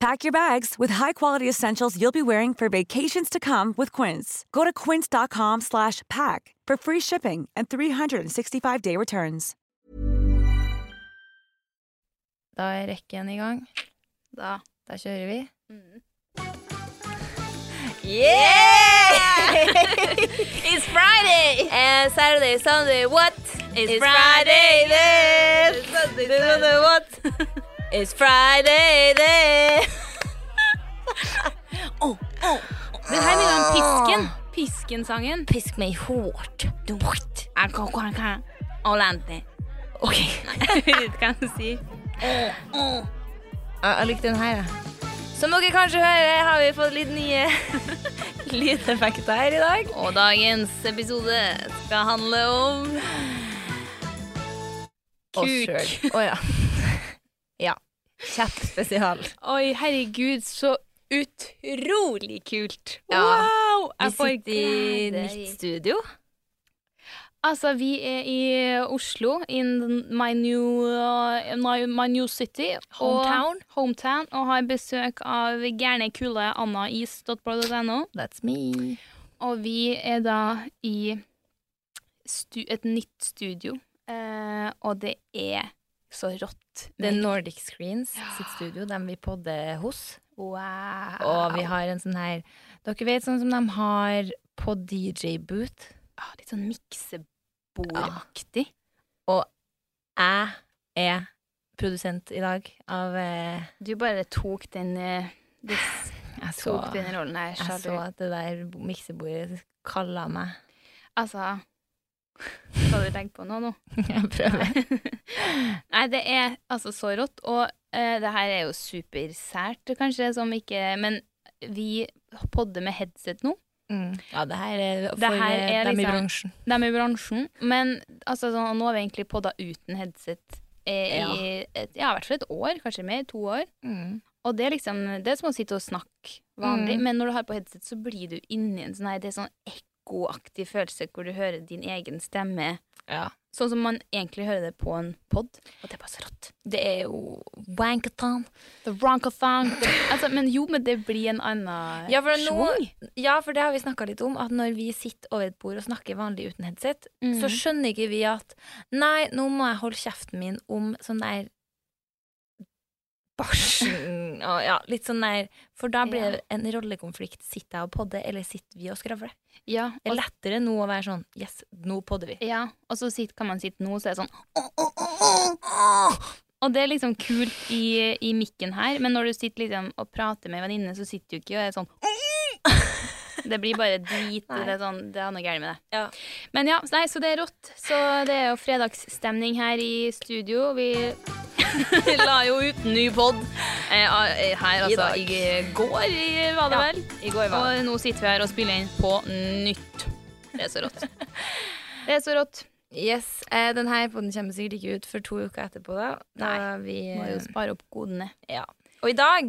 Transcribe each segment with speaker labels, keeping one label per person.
Speaker 1: Pack your bags with high-quality essentials you'll be wearing for vacations to come with Quince. Go to quince.com slash pack for free shipping and 365-day returns.
Speaker 2: Da er rekken i gang.
Speaker 3: Da.
Speaker 2: Da kjører vi.
Speaker 3: Yeah! It's Friday! And Saturday, Sunday, what? It's, Friday then! Sunday, Sunday, what? It's Friday then!
Speaker 2: Det her minner om pisken. Pisken-sangen.
Speaker 3: Pisk meg hårt. Do what?
Speaker 2: Olante. OK. kan du si. Jeg jeg likte den her, jeg.
Speaker 3: Som dere kanskje hører, har vi fått litt nye lydeffekter her i dag. Og dagens episode skal handle om
Speaker 2: Oss
Speaker 3: Kuk.
Speaker 2: selv. Å ja. ja. Kjapp spesial.
Speaker 4: Oi, herregud, så utrolig kult.
Speaker 3: Ja.
Speaker 4: Wow!
Speaker 3: Vi
Speaker 4: Jeg får
Speaker 3: sitter i
Speaker 4: glede
Speaker 3: nytt studio.
Speaker 4: Altså, vi er i Oslo, in my new, uh, my, my new city.
Speaker 2: Hometown.
Speaker 4: Og, hometown. Og har besøk av gærne, kule annais.blad.no.
Speaker 2: That's me.
Speaker 4: Og vi er da i stu, et nytt studio. Eh, og det er så rått.
Speaker 2: Det er Nordic Screens sitt studio, dem vi podder hos.
Speaker 4: Wow.
Speaker 2: Og vi har en sånn her Dere vet sånn som de har på DJ-boot?
Speaker 4: Ah, litt sånn miksebordaktig.
Speaker 2: Jeg er produsent i dag av eh,
Speaker 4: Du bare tok den eh, det s-
Speaker 2: Jeg så,
Speaker 4: Tok den rollen her,
Speaker 2: jeg så
Speaker 4: sjalu.
Speaker 2: at det der miksebordet kalla meg.
Speaker 4: Altså Skal du legge på noe nå?
Speaker 2: Jeg prøver.
Speaker 4: Nei, det er altså så rått. Og eh, det her er jo supersært, kanskje, som ikke Men vi podder med headset nå.
Speaker 2: Mm. Ja, det her er for eh,
Speaker 4: Det her er
Speaker 2: dem i
Speaker 4: liksom-
Speaker 2: bransjen.
Speaker 4: De er i bransjen. Men altså, sånn, og nå har vi egentlig podda uten headset eh,
Speaker 2: Ja.
Speaker 4: i et, ja, i hvert fall et år, kanskje mer. To år.
Speaker 2: Mm.
Speaker 4: Og det er liksom Det er som å sitte og snakke vanlig,
Speaker 2: Mm.
Speaker 4: men når du har på headset, så blir du inni en sånn her Det er sånn ekkoaktig følelse hvor du hører din egen stemme.
Speaker 2: Ja.
Speaker 4: Sånn som man egentlig hører det på en pod, og det er bare så rått.
Speaker 2: Det er jo wankathon.
Speaker 4: The ronkathon. the- Altså, men jo, men det blir en annen
Speaker 2: Ja, for det er noe-
Speaker 4: schwung.
Speaker 2: Ja, for det har vi snakka litt om, at når vi sitter over et bord og snakker vanlig uten headset,
Speaker 4: Mhm.
Speaker 2: så skjønner ikke vi at Nei, nå må jeg holde kjeften min om sånn der Barsen og ja, litt sånn der For da blir
Speaker 4: Ja.
Speaker 2: det en rollekonflikt. Sitter jeg og podder, eller sitter vi og skravler?
Speaker 4: Ja,
Speaker 2: Det er
Speaker 4: og,
Speaker 2: lettere nå å være sånn Yes, nå podder vi.
Speaker 4: ja, og så sitt, kan man sitte nå, så er det sånn Og det er liksom kult i, i mikken her, men når du sitter liksom og prater med en venninne, så sitter du ikke og er sånn Det blir bare drit. og Det er, sånn, det er noe gærent med det.
Speaker 2: Ja.
Speaker 4: Men ja, nei, så det er rått. Så det er jo fredagsstemning her i studio. Vi la jo ut ny pod eh, her,
Speaker 3: altså,
Speaker 4: I, går, var det vel?
Speaker 3: I går var
Speaker 4: Og nå sitter vi her og spiller inn på nytt. Det er så rått. Det er så rått.
Speaker 2: Yes, eh, den her podden kommer sikkert ikke ut før to uker etterpå, da. da vi,
Speaker 4: Må jo spare opp godene.
Speaker 2: Ja. Og i dag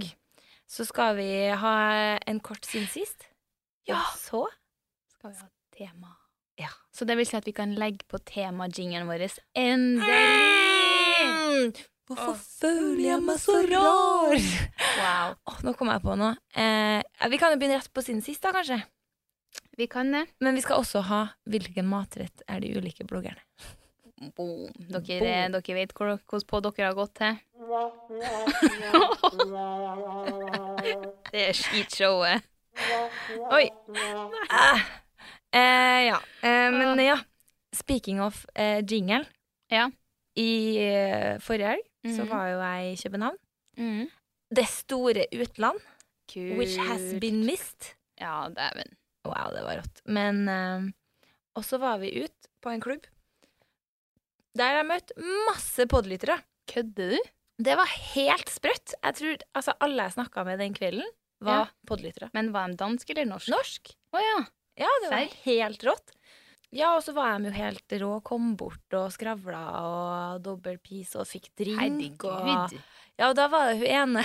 Speaker 2: så skal vi ha en kort siden sist. Ja. Og så
Speaker 4: Skal vi ha tema? Så det vil si at vi kan legge på temajingeren vår endelig!
Speaker 2: Hvorfor føler jeg meg så rar?
Speaker 4: Wow.
Speaker 2: Åh, nå kom jeg på noe. Eh, ja, vi kan jo begynne rett på siden sist, da, kanskje.
Speaker 4: Vi kan det.
Speaker 2: Men vi skal også ha hvilken matrett er de ulike bloggerne.
Speaker 4: Boom. Dere, dere vet hvor- hvordan på dere har gått til. det er skitshowet. Oi.
Speaker 2: Ah. Eh, ja. Eh, men ja, speaking of eh, jingle.
Speaker 4: Ja.
Speaker 2: I eh, forrige helg så
Speaker 4: Mhm.
Speaker 2: var jo jeg i København.
Speaker 4: Mm.
Speaker 2: Det store utland,
Speaker 4: Kult.
Speaker 2: which has been missed.
Speaker 4: Ja, dæven.
Speaker 2: Wow, det var rått. Men eh, Og så var vi ut på en klubb der jeg møtte masse podlyttere.
Speaker 4: Kødder du?
Speaker 2: Det var helt sprøtt. Jeg tror, altså Alle jeg snakka med den kvelden, var
Speaker 4: Ja.
Speaker 2: podlyttere.
Speaker 4: Men var de dansk eller norsk?
Speaker 2: Norsk.
Speaker 4: Å ja.
Speaker 2: Ja, det var
Speaker 4: Serr?
Speaker 2: helt rått. Ja, og så var de jo helt rå, kom bort og skravla og dobbel pis og fikk drink. og-
Speaker 4: Herregud.
Speaker 2: Ja, og da var det hun ene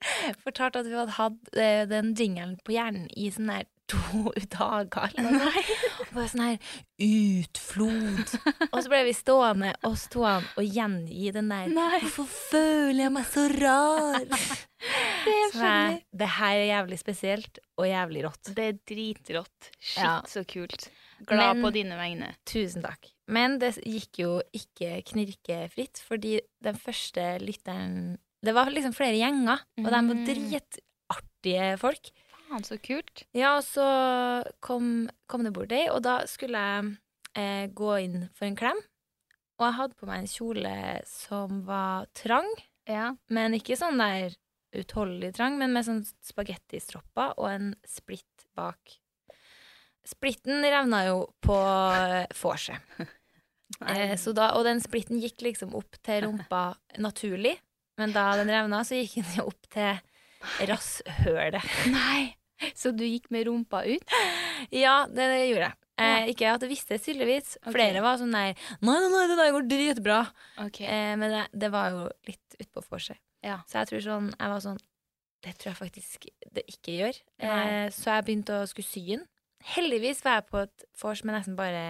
Speaker 2: fortalte at hun hadde hatt eh, den jingelen på hjernen i sånn der to dager. Eller noe. Og bare sånn her utflod. og så ble vi stående, oss to, an, og gjengi den der
Speaker 4: Nei.
Speaker 2: Hvorfor føler jeg meg så rar? Så jeg- Det her er jævlig spesielt og jævlig rått.
Speaker 4: Det er dritrått. Shit,
Speaker 2: Ja.
Speaker 4: så kult. Glad
Speaker 2: Men-
Speaker 4: på dine vegne.
Speaker 2: Tusen takk. Men det gikk jo ikke knirkefritt, fordi den første lytteren Det var liksom flere gjenger, og de var
Speaker 4: Mm.
Speaker 2: dritartige folk.
Speaker 4: Faen, så kult.
Speaker 2: Ja, og så kom, kom det bort ei, og da skulle jeg eh, gå inn for en klem. Og jeg hadde på meg en kjole som var trang,
Speaker 4: Ja.
Speaker 2: men ikke sånn der utholdelig trang, men med sånn spagettistropper og en splitt bak. Splitten revna jo på eh, vorset. Eh, så da, og den splitten gikk liksom opp til rumpa naturlig, men da den revna, så gikk den jo opp til rasshølet.
Speaker 4: Nei! Så du gikk med rumpa ut?
Speaker 2: Ja, det, det gjorde jeg. Eh, ikke at det visste, tydeligvis. Flere var sånn der Nei, nei, nei, det der går dritbra.
Speaker 4: Ok.
Speaker 2: Eh, men det, det var jo litt utpå vorset.
Speaker 4: Ja.
Speaker 2: Så jeg tror sånn Jeg var sånn Det tror jeg faktisk det ikke gjør. Eh,
Speaker 4: Nei.
Speaker 2: så jeg begynte å skulle sy den. Heldigvis var jeg på et vors med nesten bare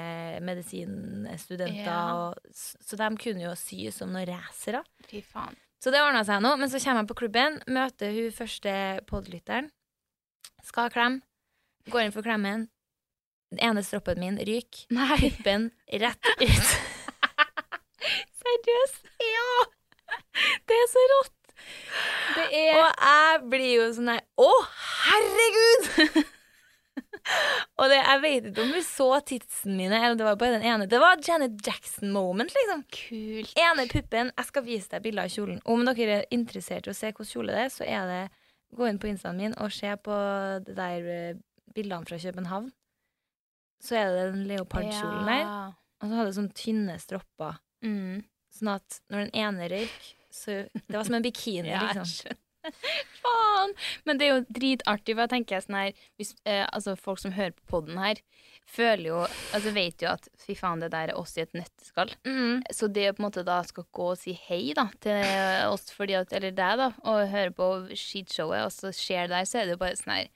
Speaker 2: medisinstudenter,
Speaker 4: Ja.
Speaker 2: og, s- så de kunne jo sy som noen racere.
Speaker 4: Fy faen.
Speaker 2: Så det ordna seg nå. Men så kommer jeg på klubben, møter hun første podlytteren. Skal ha klem. Går inn for klemmen. Den ene stroppen min ryker.
Speaker 4: Nei.
Speaker 2: Puppen rett ut.
Speaker 4: Seriøst? Ja! Det er så rått. Det er
Speaker 2: Og jeg blir jo sånn her Å, herregud! Og det, jeg vet ikke om hun så titsen mine, eller det var bare den ene. Det var Janet Jackson-moment, liksom.
Speaker 4: kult.
Speaker 2: Ene puppen. Jeg skal vise deg bilder av kjolen. Om dere er interessert i å se hvordan kjole det er, så er det gå inn på instaen min og se på det der eh, bildene fra København. Så er det den leopardkjolen der.
Speaker 4: Ja.
Speaker 2: Og så hadde det sånn tynne stropper.
Speaker 4: Mm.
Speaker 2: Sånn at når den ene røyk, så Det var som en bikini,
Speaker 4: Ja, jeg
Speaker 2: liksom.
Speaker 4: Faen! Men det er jo dritartig, for jeg tenker sånn her hvis, eh, Altså, folk som hører på podden her, føler jo Altså, vet jo at fy faen, det der er oss i et nøtteskall.
Speaker 2: Mm.
Speaker 4: Så det å på en måte da skal gå og si hei da til oss, fordi at, eller deg, da, og høre på skitshowet, og så skjer det der, så er det jo bare sånn her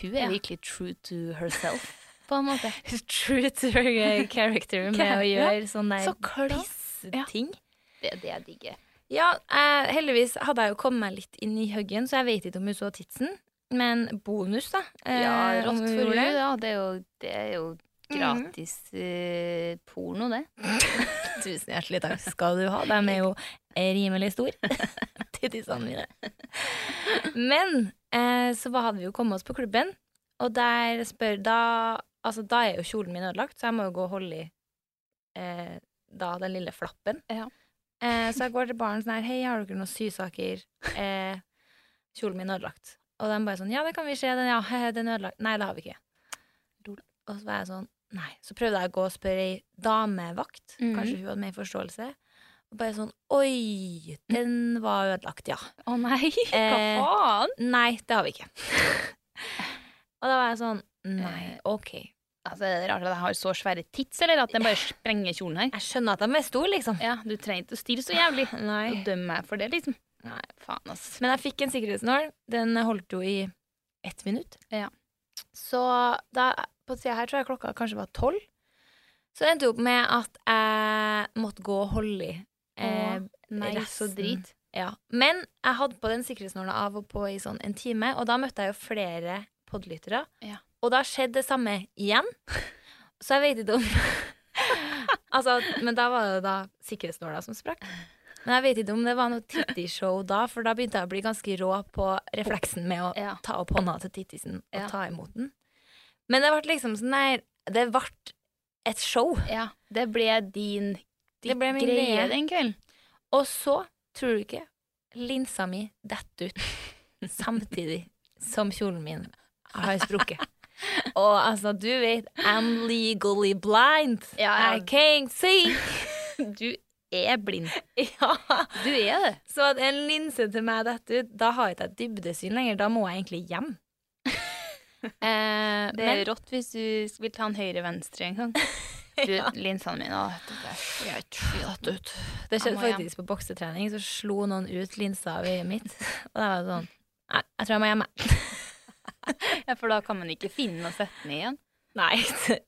Speaker 4: Hun er
Speaker 2: Ja.
Speaker 4: virkelig true to herself, på en måte.
Speaker 2: True to her eh, character med å
Speaker 4: Ja.
Speaker 2: gjøre sånn sånne
Speaker 4: Så klart.
Speaker 2: pissting.
Speaker 4: Det er det jeg digger.
Speaker 2: Ja, eh, heldigvis hadde jeg jo kommet meg litt inn i huggen, så jeg vet ikke om hun så titsen. Men bonus, da. eh, om
Speaker 4: rått
Speaker 2: hun
Speaker 4: for
Speaker 2: gjorde
Speaker 4: hun,
Speaker 2: det.
Speaker 4: da. Det er jo, det er jo gratis eh, porno, det.
Speaker 2: Tusen hjertelig takk skal du ha. De er jo rimelig store, tittisene mine. Men eh, så hva hadde vi jo kommet oss på klubben, og der spør da Altså, da er jo kjolen min ødelagt, så jeg må jo gå og holde i eh, da den lille flappen.
Speaker 4: Ja.
Speaker 2: Eh, så jeg går til baren sånn her Hei, har dere noen sysaker? Eh, kjolen min er ødelagt. Og de bare sånn Ja, det kan vi se. Den, ja, he, he, den er ødelagt. Nei, det har vi ikke. Og så var jeg sånn Nei. Så prøvde jeg å gå og spørre ei damevakt.
Speaker 4: Mhm.
Speaker 2: Kanskje hun hadde mer forståelse. Og bare sånn Oi, den var ødelagt, ja.
Speaker 4: Å nei, hva
Speaker 2: Eh,
Speaker 4: faen?
Speaker 2: Nei, det har vi ikke. og da var jeg sånn Nei,
Speaker 4: Eh.
Speaker 2: OK.
Speaker 4: Altså, er det rart at jeg har så svære tits, eller at den bare sprenger kjolen her?
Speaker 2: Jeg skjønner at de er store, liksom.
Speaker 4: Ja, du trenger ikke å stirre så jævlig.
Speaker 2: Nei.
Speaker 4: Og dømme meg for det, liksom. Nei, faen, ass.
Speaker 2: Men jeg fikk en sikkerhetsnål. Den holdt jo i ett minutt.
Speaker 4: Ja.
Speaker 2: Så da, på sida her tror jeg klokka kanskje var tolv. Så det endte opp med at jeg måtte gå og holde i. Eh,
Speaker 4: Nei, så
Speaker 2: resten.
Speaker 4: drit.
Speaker 2: ja. Men jeg hadde på den sikkerhetsnåla av og på i sånn en time, og da møtte jeg jo flere podlyttere.
Speaker 4: Ja.
Speaker 2: Og da skjedde det samme igjen. Så jeg vet ikke om Altså, men da var det da sikkerhetsnåla som sprakk. Men jeg vet ikke om det var noe Titti-show da, for da begynte jeg å bli ganske rå på refleksen med å
Speaker 4: Ja.
Speaker 2: ta opp hånda til Tittisen og
Speaker 4: Ja.
Speaker 2: ta imot den. Men det ble liksom sånn Nei, det ble et show.
Speaker 4: Ja, det ble din, ditt
Speaker 2: Det ble min
Speaker 4: greie
Speaker 2: greie.
Speaker 4: den kvelden.
Speaker 2: Og så, tror du ikke, linsa mi detter ut samtidig som kjolen min har sprukket. Og altså, du vet, I'm legally blind.
Speaker 4: Ja, ja.
Speaker 2: I can't see.
Speaker 4: Du er blind.
Speaker 2: Ja.
Speaker 4: Du er det.
Speaker 2: Så at en linse til meg detter ut, da har jeg ikke jeg dybdesyn lenger. Da må jeg egentlig hjem. Eh,
Speaker 4: Det er rått hvis du vil ta en høyre-venstre en gang. Du, linsene mine å, vet du, det er
Speaker 2: fjatt ut. Det skjedde
Speaker 4: Jeg må
Speaker 2: faktisk på boksetrening, så slo noen ut linsa av øyet mitt. Og da var det sånn Nei, jeg tror jeg må hjem. jeg."
Speaker 4: Ja, for da kan man ikke finne noe å sette den i igjen.
Speaker 2: Nei,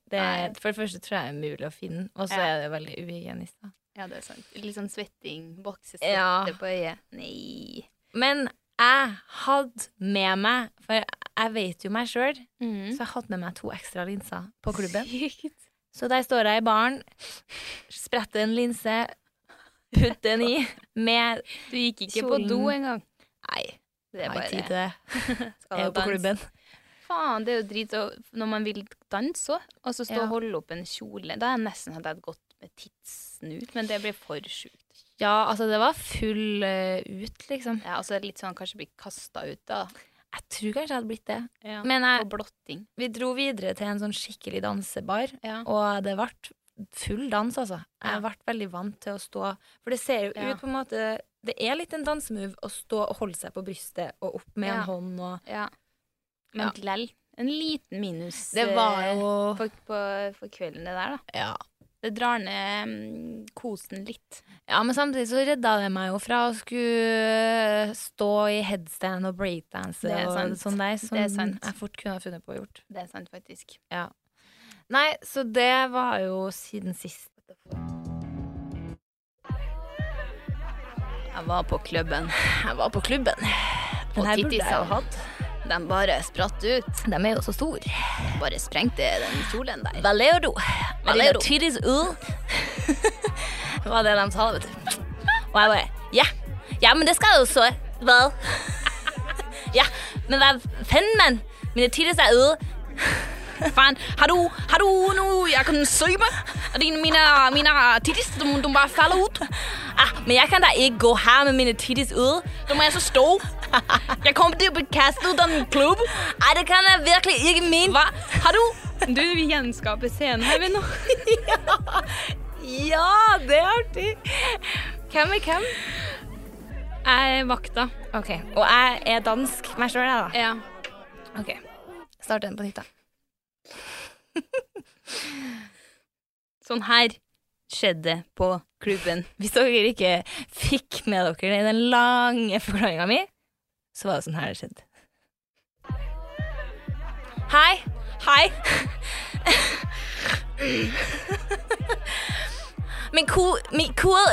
Speaker 2: det,
Speaker 4: Nei.
Speaker 2: For det første tror jeg det er mulig å finne den, og så
Speaker 4: Ja.
Speaker 2: er det veldig uhygienisk. da.
Speaker 4: Ja, det er sant. Litt sånn svetting, boksesvette
Speaker 2: Ja.
Speaker 4: på øyet. Nei.
Speaker 2: Men jeg hadde med meg, for jeg vet jo meg sjøl, så jeg hadde med meg to ekstra linser på klubben.
Speaker 4: Sykt.
Speaker 2: Så der står jeg i baren, spretter en linse, putter den i, med
Speaker 4: Du gikk ikke
Speaker 2: Kjolen.
Speaker 4: på do engang.
Speaker 2: Nei, jeg
Speaker 4: Det er
Speaker 2: har
Speaker 4: bare
Speaker 2: ikke tid til det.
Speaker 4: Skal
Speaker 2: Jeg er jo
Speaker 4: du
Speaker 2: på
Speaker 4: danse?
Speaker 2: klubben.
Speaker 4: Faen, det er jo drit å- når man vil danse òg, og så stå
Speaker 2: Ja.
Speaker 4: og holde opp en kjole. Da er jeg nesten hadde jeg gått med tidssnut, men det blir for sjukt.
Speaker 2: Ja, altså, det var full eh, ut, liksom.
Speaker 4: Ja, og så er det litt sånn kanskje bli kasta ut, da.
Speaker 2: Jeg tror kanskje jeg hadde blitt det.
Speaker 4: Ja.
Speaker 2: Men jeg,
Speaker 4: på blotting.
Speaker 2: vi dro videre til en sånn skikkelig dansebar.
Speaker 4: Ja.
Speaker 2: Og det ble full dans, altså. Jeg ble veldig vant til å stå For det ser jo
Speaker 4: Ja.
Speaker 2: ut på en måte Det er litt en dansemove å stå og holde seg på brystet og opp med
Speaker 4: Ja.
Speaker 2: en hånd og
Speaker 4: Ja. Men
Speaker 2: Ja.
Speaker 4: lell. En liten minus
Speaker 2: Det var
Speaker 4: eh,
Speaker 2: jo
Speaker 4: for, på, for kvelden, det der, da.
Speaker 2: ja.
Speaker 4: Det drar ned mm, kosen litt.
Speaker 2: ja, men samtidig så redda det meg jo fra å skulle stå i headstand og breakdance
Speaker 4: Det er
Speaker 2: og
Speaker 4: sant.
Speaker 2: sånn der, som
Speaker 4: Det er sant.
Speaker 2: jeg fort kunne ha funnet på å gjort.
Speaker 4: Det er sant, faktisk.
Speaker 2: Nei, så det var jo siden sist.
Speaker 4: Jeg var på klubben,
Speaker 2: Jeg var på klubben.
Speaker 4: og
Speaker 2: Den her burde jeg jo
Speaker 4: tittisene,
Speaker 2: hatt.
Speaker 4: de bare spratt ut.
Speaker 2: De er jo så store.
Speaker 4: Bare sprengte den kjolen der.
Speaker 2: Valero.
Speaker 4: Valero.
Speaker 2: Titties Ull. Det var det de sa, vet du. Og jeg bare Ja, ja men det skal jo så vel. Ja, men hva faen, mann? Mine titties er ude.
Speaker 4: Fan, har du, har du noe jeg kan søpe? Din, mine, mine tittis, de, de bare faller ut.
Speaker 2: Ah, men jeg kan da ikke gå her med mine titties ude.
Speaker 4: Da må jeg så stå. Jeg kommer til å bli kastet ut av min klubb.
Speaker 2: Nei, det kan jeg virkelig ikke mene.
Speaker 4: Hva? Har du? Du gjenskaper scenen her, vi nå.
Speaker 2: Ja, det er artig. Hvem er hvem?
Speaker 4: Jeg er vakta.
Speaker 2: Ok, Og jeg er dansk meg sjøl, jeg, da.
Speaker 4: Ja.
Speaker 2: Ok, start den på nytt da
Speaker 4: Sånn her skjedde på klubben.
Speaker 2: Hvis dere ikke fikk med dere den lange forklaringen min Så var det sånn her det skjedde Hei, hei Min ko, min ko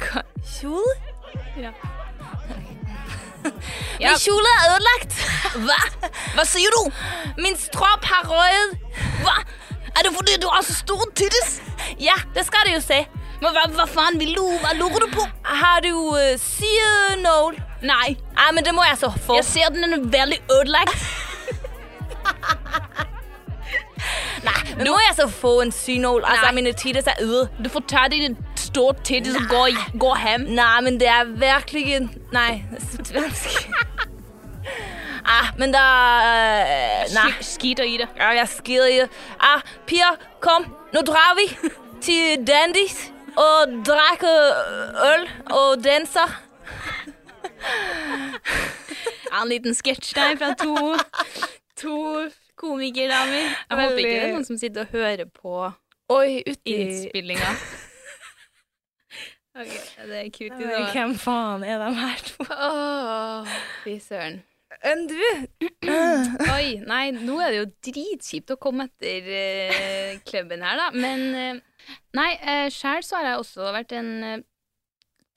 Speaker 2: Hva? Kjol? Min kjole er ødelagt. Hva? Hva sier du? Min stropp har røyet. Hva? Er det fordi du har så stor tittis? Ja, det skal du jo si. Men hva, hva faen vil du? Hva lurer du på? Har du uh, syrenål? Nei. Nei, men det må jeg så få. Jeg ser den er veldig ødelagt. Nei, men må jeg så få en synål? Altså, mine tittis er øde.
Speaker 4: Du får ta din store tittis og gå, gå hjem.
Speaker 2: Nei, men det er virkelig Nei, svensk. ah, men da eh, Nei,
Speaker 4: Sk- Skiter i det.
Speaker 2: ja, jeg skiter i det. Ah, Pia, kom. Nå drar vi til Dandys og drikker øl og danser.
Speaker 4: Ja, En liten sketsj der fra to, to komikerdamer. Jeg håper ikke det er noen som sitter og hører på
Speaker 2: Oi, uti
Speaker 4: innspillinga. Ok, det er kult i dag.
Speaker 2: Hvem faen er de her to?
Speaker 4: Åh, Fy søren.
Speaker 2: enn du.
Speaker 4: Oi, nei, nå er det jo dritkjipt å komme etter eh, klubben her, da. Men eh, nei, uh, sjæl så har jeg også vært en eh,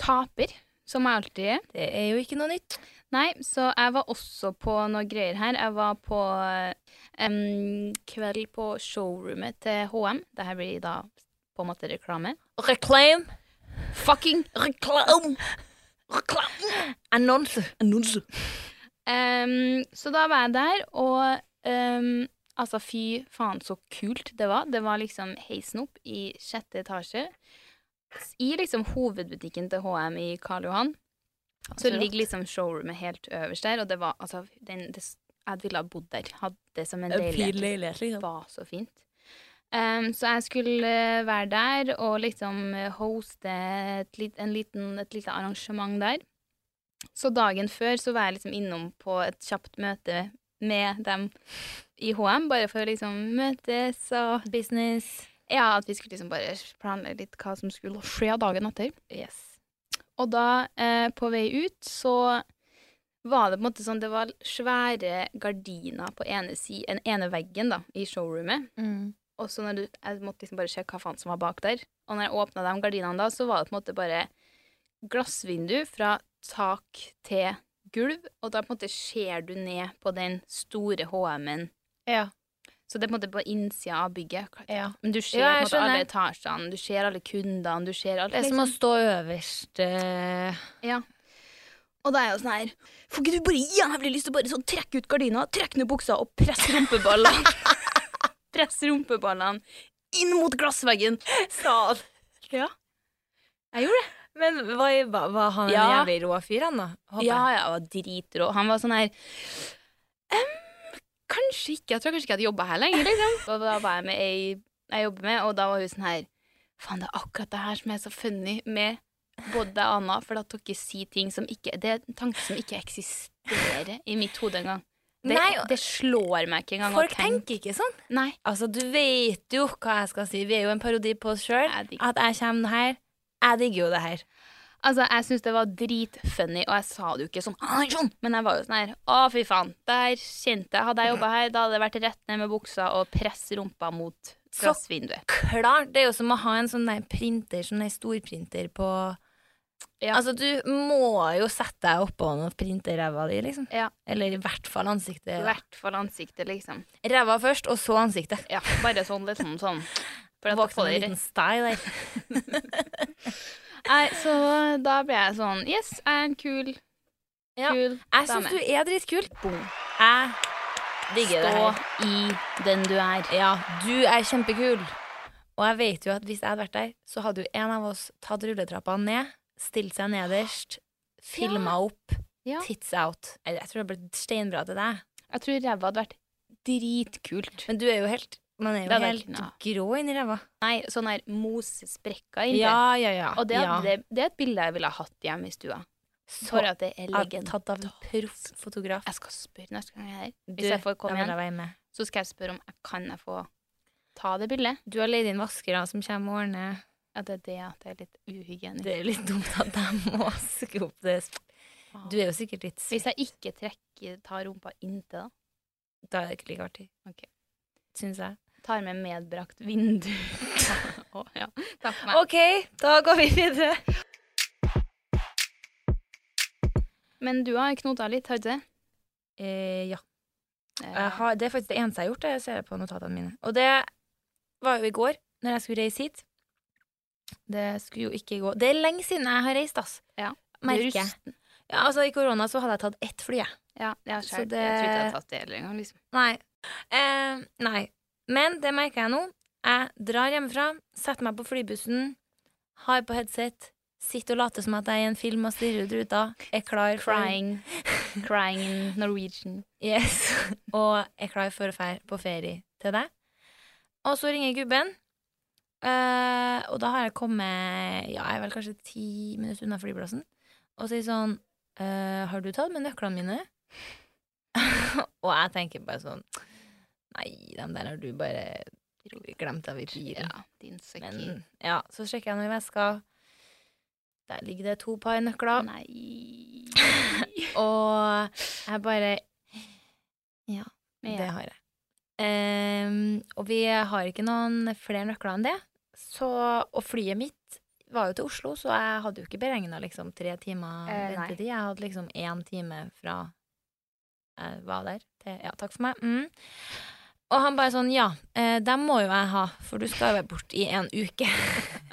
Speaker 4: taper, som jeg alltid er.
Speaker 2: Det er jo ikke noe nytt.
Speaker 4: Nei, så jeg var også på noe greier her. Jeg var på em, kveld på showroomet til HM. Dette blir da på en måte reklame.
Speaker 3: Reclaim.
Speaker 4: Fucking
Speaker 3: Reclaim. Reclaim. Annonse. Annonse.
Speaker 4: Ehm, så da var jeg der, og ehm, altså fy faen så kult det var. Det var liksom heisen opp i sjette etasje. S- I liksom hovedbutikken til HM i Karl Johan. Så ligger liksom showroomet helt øverst der, og det var altså den, det, s- Jeg ville ha bodd der. Hadde det som en leilighet.
Speaker 3: leilighet,
Speaker 4: Det
Speaker 3: liksom.
Speaker 4: var så fint. Ehm, så jeg skulle eh, være der og liksom eh, hoste et, lit, en liten, et lite arrangement der. Så dagen før så var jeg liksom innom på et kjapt møte med dem i HM, bare for å liksom møtes og
Speaker 2: Business.
Speaker 4: Ja, at vi skulle liksom bare planlegge litt hva som skulle skje dagen etter.
Speaker 2: Yes.
Speaker 4: Og da, eh, på vei ut, så var det på en måte sånn Det var svære gardiner på ene, si, den ene veggen da, i showroomet. Og så når du, jeg måtte liksom bare sjekke hva faen som var bak der. Og når jeg åpna de gardinene da, så var det på en måte bare glassvindu fra tak til gulv. Og da på en måte ser du ned på den store HM-en.
Speaker 2: Ja.
Speaker 4: Så det er på en måte på innsida av bygget.
Speaker 2: Ja.
Speaker 4: Men du ser
Speaker 2: Ja, jeg
Speaker 4: på en måte alle
Speaker 2: skjønner.
Speaker 4: etasjene, du ser alle kundene, du ser alt. liksom.
Speaker 2: Det er som å stå øverst eh,
Speaker 4: Ja. Og da er jeg jo sånn her Får ikke du bare jævlig lyst til å bare sånn trekke ut gardina, trekke ned buksa og presse rumpeballene Presse rumpeballene inn mot glassveggen, sa han. Ja. Jeg gjorde det.
Speaker 2: Men var, var, var han en
Speaker 4: Ja.
Speaker 2: jævlig rå fyr, han da? Håper
Speaker 4: Ja,
Speaker 2: jeg.
Speaker 4: jeg var dritrå. Han var sånn her «Em, Kanskje ikke. Jeg tror kanskje ikke jeg hadde jobba her lenger, liksom. Og da var jeg med ei jeg jobber med, og da var hun sånn her Faen, det er akkurat det her som er så funny med både deg og Anna, for at dere sier ting som ikke Det er en tanke som ikke eksisterer i mitt hode engang. Det,
Speaker 2: Nei, og-
Speaker 4: det slår meg ikke engang. å
Speaker 2: Folk
Speaker 4: tenke.
Speaker 2: tenker ikke sånn.
Speaker 4: Nei.
Speaker 2: Altså, du vet jo hva jeg skal si. Vi er jo en parodi på oss sjøl.
Speaker 4: Jeg digger-
Speaker 2: At jeg kommer her. Jeg digger jo det her.
Speaker 4: Altså, jeg syns det var dritfunny, og jeg sa det jo ikke sånn, «Ai, sånn. Men jeg var jo sånn her Å, fy faen. Der kjente jeg Hadde jeg jobba her, da hadde det vært rett ned med buksa og press rumpa mot
Speaker 2: Så-
Speaker 4: glassvinduet.
Speaker 2: Klart! Det er jo som å ha en sånn der printer, sånn der storprinter på
Speaker 4: Ja.
Speaker 2: Altså, du må jo sette deg oppå den og printe ræva di, liksom.
Speaker 4: Ja.
Speaker 2: Eller i hvert fall ansiktet.
Speaker 4: I hvert fall ansiktet, liksom.
Speaker 2: Ræva først, og så ansiktet.
Speaker 4: Ja, bare sånn litt sånn sånn. For at
Speaker 2: Våkne
Speaker 4: få
Speaker 2: med
Speaker 4: det
Speaker 2: en liten
Speaker 4: rett.
Speaker 2: style der.
Speaker 4: Nei, så da ble jeg sånn Yes, jeg er en kul,
Speaker 2: Ja.
Speaker 4: kul
Speaker 2: Jeg
Speaker 4: dame.
Speaker 2: syns du er dritkul.
Speaker 4: Boom.
Speaker 2: Jeg digger det her.
Speaker 4: Stå i den du er.
Speaker 2: Ja, du er kjempekul. Og jeg vet jo at hvis jeg hadde vært der, så hadde jo en av oss tatt rulletrappa ned, stilt seg nederst, filma opp,
Speaker 4: Ja.
Speaker 2: tits out. Jeg, jeg tror det hadde blitt steinbra til deg.
Speaker 4: Jeg tror ræva hadde vært dritkult.
Speaker 2: Men du er jo helt Man er
Speaker 4: Det
Speaker 2: jo
Speaker 4: hadde jeg
Speaker 2: helt
Speaker 4: kunnet.
Speaker 2: grå inni ræva.
Speaker 4: Nei, sånn her mosesprekker inni.
Speaker 2: Ja, ja, ja.
Speaker 4: Og det,
Speaker 2: ja.
Speaker 4: hadde- det, det er et bilde jeg ville ha hatt hjemme i stua.
Speaker 2: så
Speaker 4: For at det er
Speaker 2: at-
Speaker 4: legend.
Speaker 2: tatt av en proffotograf.
Speaker 4: Jeg skal spørre neste gang jeg er her.
Speaker 2: Du,
Speaker 4: Hvis jeg får
Speaker 2: da
Speaker 4: komme
Speaker 2: vil jeg
Speaker 4: igjen,
Speaker 2: være med.
Speaker 4: så skal jeg spørre om jeg kan jeg få ta det bildet.
Speaker 2: Du har leid inn vaskere som kommer og ordner.
Speaker 4: Ja, det er det at det er litt uhygienisk.
Speaker 2: Det er litt dumt at de må vaske opp det.
Speaker 4: Faen.
Speaker 2: Du er jo sikkert litt
Speaker 4: Hvis jeg ikke trekker, tar rumpa inntil, da.
Speaker 2: Da er det ikke like artig.
Speaker 4: Ok.
Speaker 2: Syns jeg.
Speaker 4: Tar med medbrakt vindu. Å, ja. Takk for meg.
Speaker 2: OK, da går vi videre.
Speaker 4: Men du har knota litt, har du ikke det?
Speaker 2: Eh, ja. Jeg
Speaker 4: Eh,
Speaker 2: har, det er faktisk det eneste jeg har gjort. Det jeg ser jeg på notatene mine. Og det var jo i går, når jeg skulle reise hit. Det skulle jo ikke gå Det er lenge siden jeg har reist, ass.
Speaker 4: Ja.
Speaker 2: Merker jeg.
Speaker 4: rusten.
Speaker 2: Ja, altså, I korona så hadde jeg tatt ett fly, jeg.
Speaker 4: Ja, jeg,
Speaker 2: Så
Speaker 4: selv,
Speaker 2: det-
Speaker 4: jeg tror ikke jeg har tatt det heller engang. Liksom.
Speaker 2: Nei. Eh, nei. Men det merker jeg nå. Jeg drar hjemmefra, setter meg på flybussen, har på headset, sitter og later som at jeg er i en film og stirrer ut ruta, er klar for
Speaker 4: Crying. Crying in Norwegian.
Speaker 2: Yes. Og er klar for å fære på ferie til deg. Og så ringer gubben. Eh, og da har jeg kommet Ja, jeg er vel kanskje ti minutter unna flyplassen. Og sier sånn eh, Har du tatt med nøklene mine? og jeg tenker bare sånn Nei, dem der har du bare glemt av i bilen.
Speaker 4: Ja, din søkker.
Speaker 2: Men ja, så sjekker jeg noe i veska. Der ligger det to par nøkler.
Speaker 4: Nei.
Speaker 2: Og jeg bare
Speaker 4: Men
Speaker 2: Det
Speaker 4: ja.
Speaker 2: har jeg. Ehm, og vi har ikke noen flere nøkler enn det. Så, og flyet mitt var jo til Oslo, så jeg hadde jo ikke beregna liksom, tre timer
Speaker 4: Eh, nei.
Speaker 2: ventetid. Jeg hadde liksom én time fra jeg var der, til Ja, takk for meg. Mm. Og han bare sånn Ja, eh, dem må jo jeg ha, for du skal jo være borte i en uke.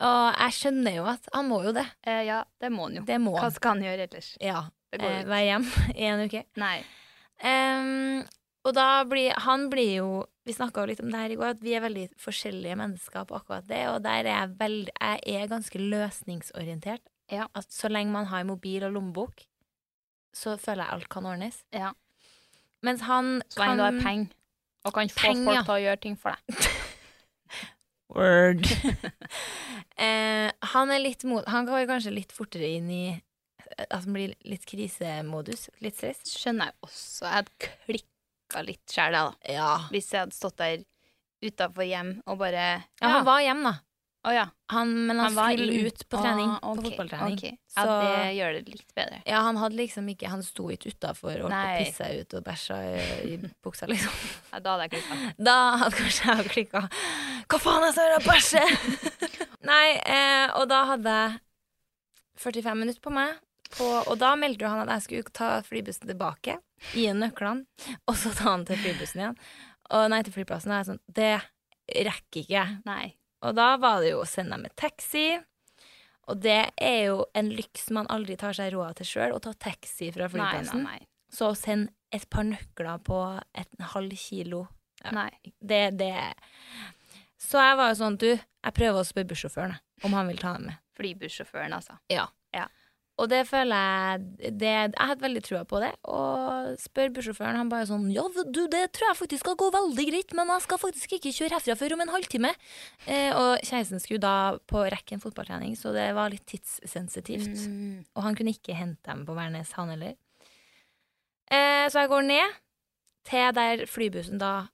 Speaker 2: og jeg skjønner jo at han må jo det.
Speaker 4: Eh, ja, det må han jo.
Speaker 2: Det må
Speaker 4: Hva
Speaker 2: han.
Speaker 4: skal han gjøre ellers?
Speaker 2: Ja.
Speaker 4: Det går
Speaker 2: Eh,
Speaker 4: jo ikke.
Speaker 2: være hjemme i en uke.
Speaker 4: Nei.
Speaker 2: Ehm, og da blir han blir jo Vi snakka jo litt om det her i går, at vi er veldig forskjellige mennesker på akkurat det. Og der er jeg, veld, jeg er ganske løsningsorientert.
Speaker 4: Ja.
Speaker 2: At så lenge man har mobil og lommebok, så føler jeg alt kan ordnes.
Speaker 4: Ja.
Speaker 2: Mens han
Speaker 4: Så lenge du har penger og kan få
Speaker 2: Penger,
Speaker 4: folk
Speaker 2: ja.
Speaker 4: til å gjøre ting for deg.
Speaker 2: Word. eh, han er litt mot Han går kanskje litt fortere inn i At han blir litt krisemodus. Litt stress.
Speaker 4: Skjønner jeg også. Jeg hadde klikka litt sjæl, jeg, da.
Speaker 2: Ja.
Speaker 4: Hvis jeg hadde stått der utafor hjem og bare
Speaker 2: ja han var hjemme, da.
Speaker 4: Å ja.
Speaker 2: Han, men han,
Speaker 4: var
Speaker 2: skulle
Speaker 4: inn-
Speaker 2: ut på trening.
Speaker 4: Ah, ok,
Speaker 2: På fotballtrening.
Speaker 4: ok.
Speaker 2: Så-
Speaker 4: Ja, det gjør det litt bedre.
Speaker 2: Ja, han hadde liksom ikke Han sto ikke utafor og holdt på å
Speaker 4: Nei.
Speaker 2: pisse ut og bæsja i, i buksa, liksom.
Speaker 4: Ja, da hadde jeg klikka.
Speaker 2: Da hadde kanskje jeg klikka. Hva faen, jeg står og bæsjer! Nei, eh, og da hadde jeg 45 minutter på meg, på, og da meldte jo han at jeg skulle ta flybussen tilbake, gi ham nøklene, og så ta han til flybussen igjen. Og nei, til flyplassen. Og jeg er sånn Det rekker ikke jeg.
Speaker 4: Nei.
Speaker 2: Og da var det jo å sende dem med taxi. Og det er jo en lyks man aldri tar seg råd til sjøl, å ta taxi fra
Speaker 4: Nei,
Speaker 2: flyplassen.
Speaker 4: nei, nei.
Speaker 2: Så å sende et par nøkler på et, en halv kilo, Ja.
Speaker 4: nei.
Speaker 2: det, det Så jeg var jo sånn, du, jeg prøver å spørre bussjåføren jeg, om han vil ta dem med.
Speaker 4: Flybussjåføren, altså.
Speaker 2: Og det føler jeg det, Jeg hadde veldig trua på det. Og spør bussjåføren, han bare sånn Ja, du, det tror jeg faktisk skal gå veldig greit, men jeg skal faktisk ikke kjøre herfra før om en halvtime. Eh, og kjæresten skulle da på rekken fotballtrening, så det var litt tidssensitivt.
Speaker 4: Mm.
Speaker 2: Og han kunne ikke hente dem på Værnes, han heller. Eh, så jeg går ned til der flybussen da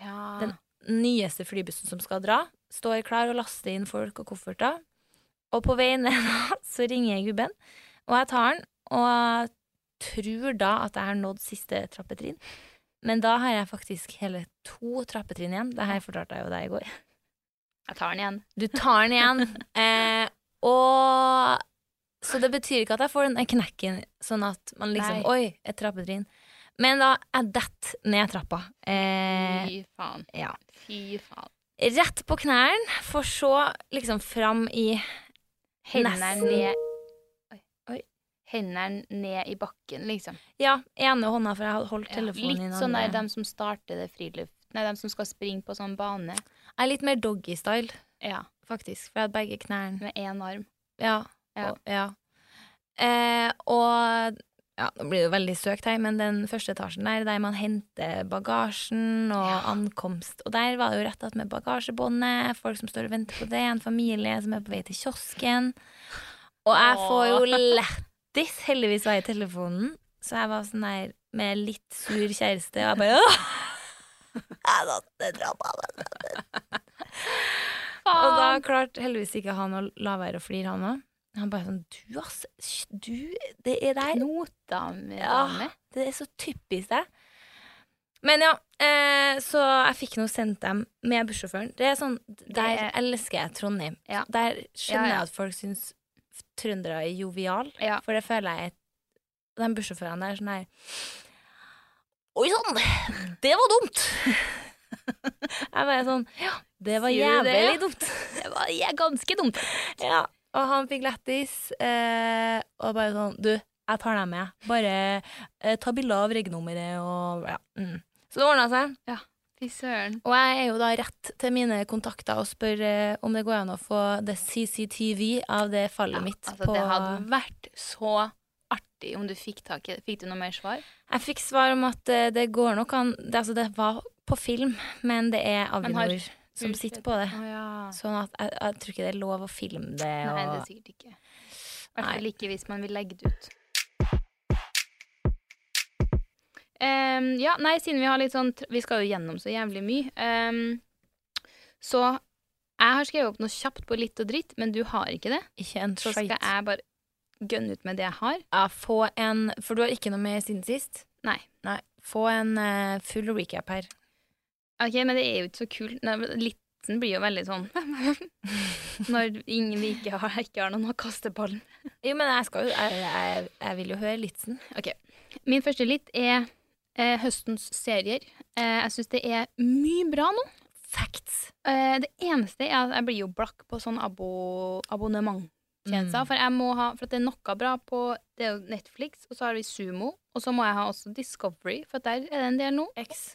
Speaker 4: Ja.
Speaker 2: Den- nyeste flybussen som skal dra, står klar og laster inn folk og kofferter. Og på vei ned da, så ringer jeg gubben, og jeg tar den, og tror da at jeg har nådd siste trappetrinn. Men da har jeg faktisk hele to trappetrinn igjen. Det her fortalte jeg jo deg i går.
Speaker 4: Jeg tar den igjen.
Speaker 2: Du tar den igjen. eh, og Så det betyr ikke at jeg får den knekken, sånn at man liksom
Speaker 4: Nei.
Speaker 2: Oi, et trappetrinn. Men da jeg detter ned trappa. Eh,
Speaker 4: Fy faen.
Speaker 2: ja
Speaker 4: Fy faen.
Speaker 2: rett på knærne, for så liksom fram i
Speaker 4: Hendene
Speaker 2: Nesten.
Speaker 4: ned Oi.
Speaker 2: Oi.
Speaker 4: Hendene ned i bakken, liksom.
Speaker 2: Ja, ene hånda, for jeg hadde holdt telefonen i
Speaker 4: Litt
Speaker 2: den
Speaker 4: sånn der
Speaker 2: andre.
Speaker 4: dem som starter det friluft... Nei, dem som skal springe på sånn bane.
Speaker 2: Jeg er litt mer doggy-style,
Speaker 4: Ja.
Speaker 2: faktisk, for jeg hadde begge knærne.
Speaker 4: Med én arm.
Speaker 2: Ja.
Speaker 4: Ja.
Speaker 2: Og, ja. Eh, og ja, nå blir det jo veldig søkt her, men den første etasjen der, der man henter bagasjen og ankomst Og der var det jo rett at med bagasjebåndet, folk som står og venter på det, en familie som er på vei til kiosken. Og jeg får jo lættis, heldigvis var jeg i telefonen, så jeg var sånn der med litt sur kjæreste, og jeg bare «Åh, Jeg datt ned trappa. Og da klarte heldigvis ikke han å la være å flire, han òg. Han bare sånn Du, ass. sj- Du, det er der.
Speaker 4: Knota med
Speaker 2: Ja.
Speaker 4: dame.
Speaker 2: Det er så typisk deg. Men ja, eh, så jeg fikk nå sendt dem med bussjåføren. Det er sånn, Der
Speaker 4: er-
Speaker 2: elsker jeg Trondheim.
Speaker 4: Ja.
Speaker 2: Der
Speaker 4: Ja,
Speaker 2: skjønner
Speaker 4: ja.
Speaker 2: jeg at folk syns f- trøndere er jovial,
Speaker 4: Ja.
Speaker 2: for det føler jeg er- De bussjåførene der er sånn her Oi sann, det var dumt! jeg bare sånn Ja, det var
Speaker 4: Sier du det,
Speaker 2: jævlig
Speaker 4: ja?
Speaker 2: dumt.
Speaker 4: Det var ja, ganske dumt.
Speaker 2: Ja, og han fikk lættis. Eh, og bare sånn Du, jeg tar deg med. Bare eh, ta bilder av regnummeret og ja. Mm. Så det ordna seg.
Speaker 4: Fy søren.
Speaker 2: Og jeg er jo da rett til mine kontakter og spør eh, om det går an å få det CCTV av det fallet
Speaker 4: Ja,
Speaker 2: mitt
Speaker 4: altså,
Speaker 2: på
Speaker 4: det hadde vært så artig om du fikk tak i det. Fikk du noe mer svar?
Speaker 2: Jeg fikk svar om at eh, det går nok an det, Altså, det var på film, men det er
Speaker 4: Men har-
Speaker 2: Avinor som sitter på det.
Speaker 4: Å ja.
Speaker 2: Sånn at jeg, jeg tror ikke det er lov å filme det. Og,
Speaker 4: Nei, det er sikkert ikke. I hvert fall ikke hvis man vil legge det ut. Ehm, ja, nei, siden vi har litt sånn tr- Vi skal jo gjennom så jævlig mye. Ehm, så jeg har skrevet opp noe kjapt på litt og dritt, men du har ikke det.
Speaker 2: ikke en
Speaker 4: Så skal
Speaker 2: skit.
Speaker 4: jeg bare gønne ut med det jeg har.
Speaker 2: Ja, få en For du har ikke noe med siden sist?
Speaker 4: Nei.
Speaker 2: Få en eh, full recap her.
Speaker 4: Ok, men det er jo ikke så kult. Nei, men Liten blir jo veldig sånn Når ingen vi ikke har, ikke har noen å kaste ballen.
Speaker 2: Jo, men jeg skal jo Jeg, jeg, jeg vil jo høre Litzen.
Speaker 4: Ok. Min første litt er eh, høstens serier. Eh, jeg syns det er mye bra nå.
Speaker 2: Facts.
Speaker 4: Eh, det eneste er at jeg blir jo blakk på sånn abo, abonnementtjenester.
Speaker 2: Mm.
Speaker 4: For jeg må ha, for at det er noe bra på det er jo Netflix, og så har vi Sumo. Og så må jeg ha også Discovery, for der er det en del nå.
Speaker 2: X.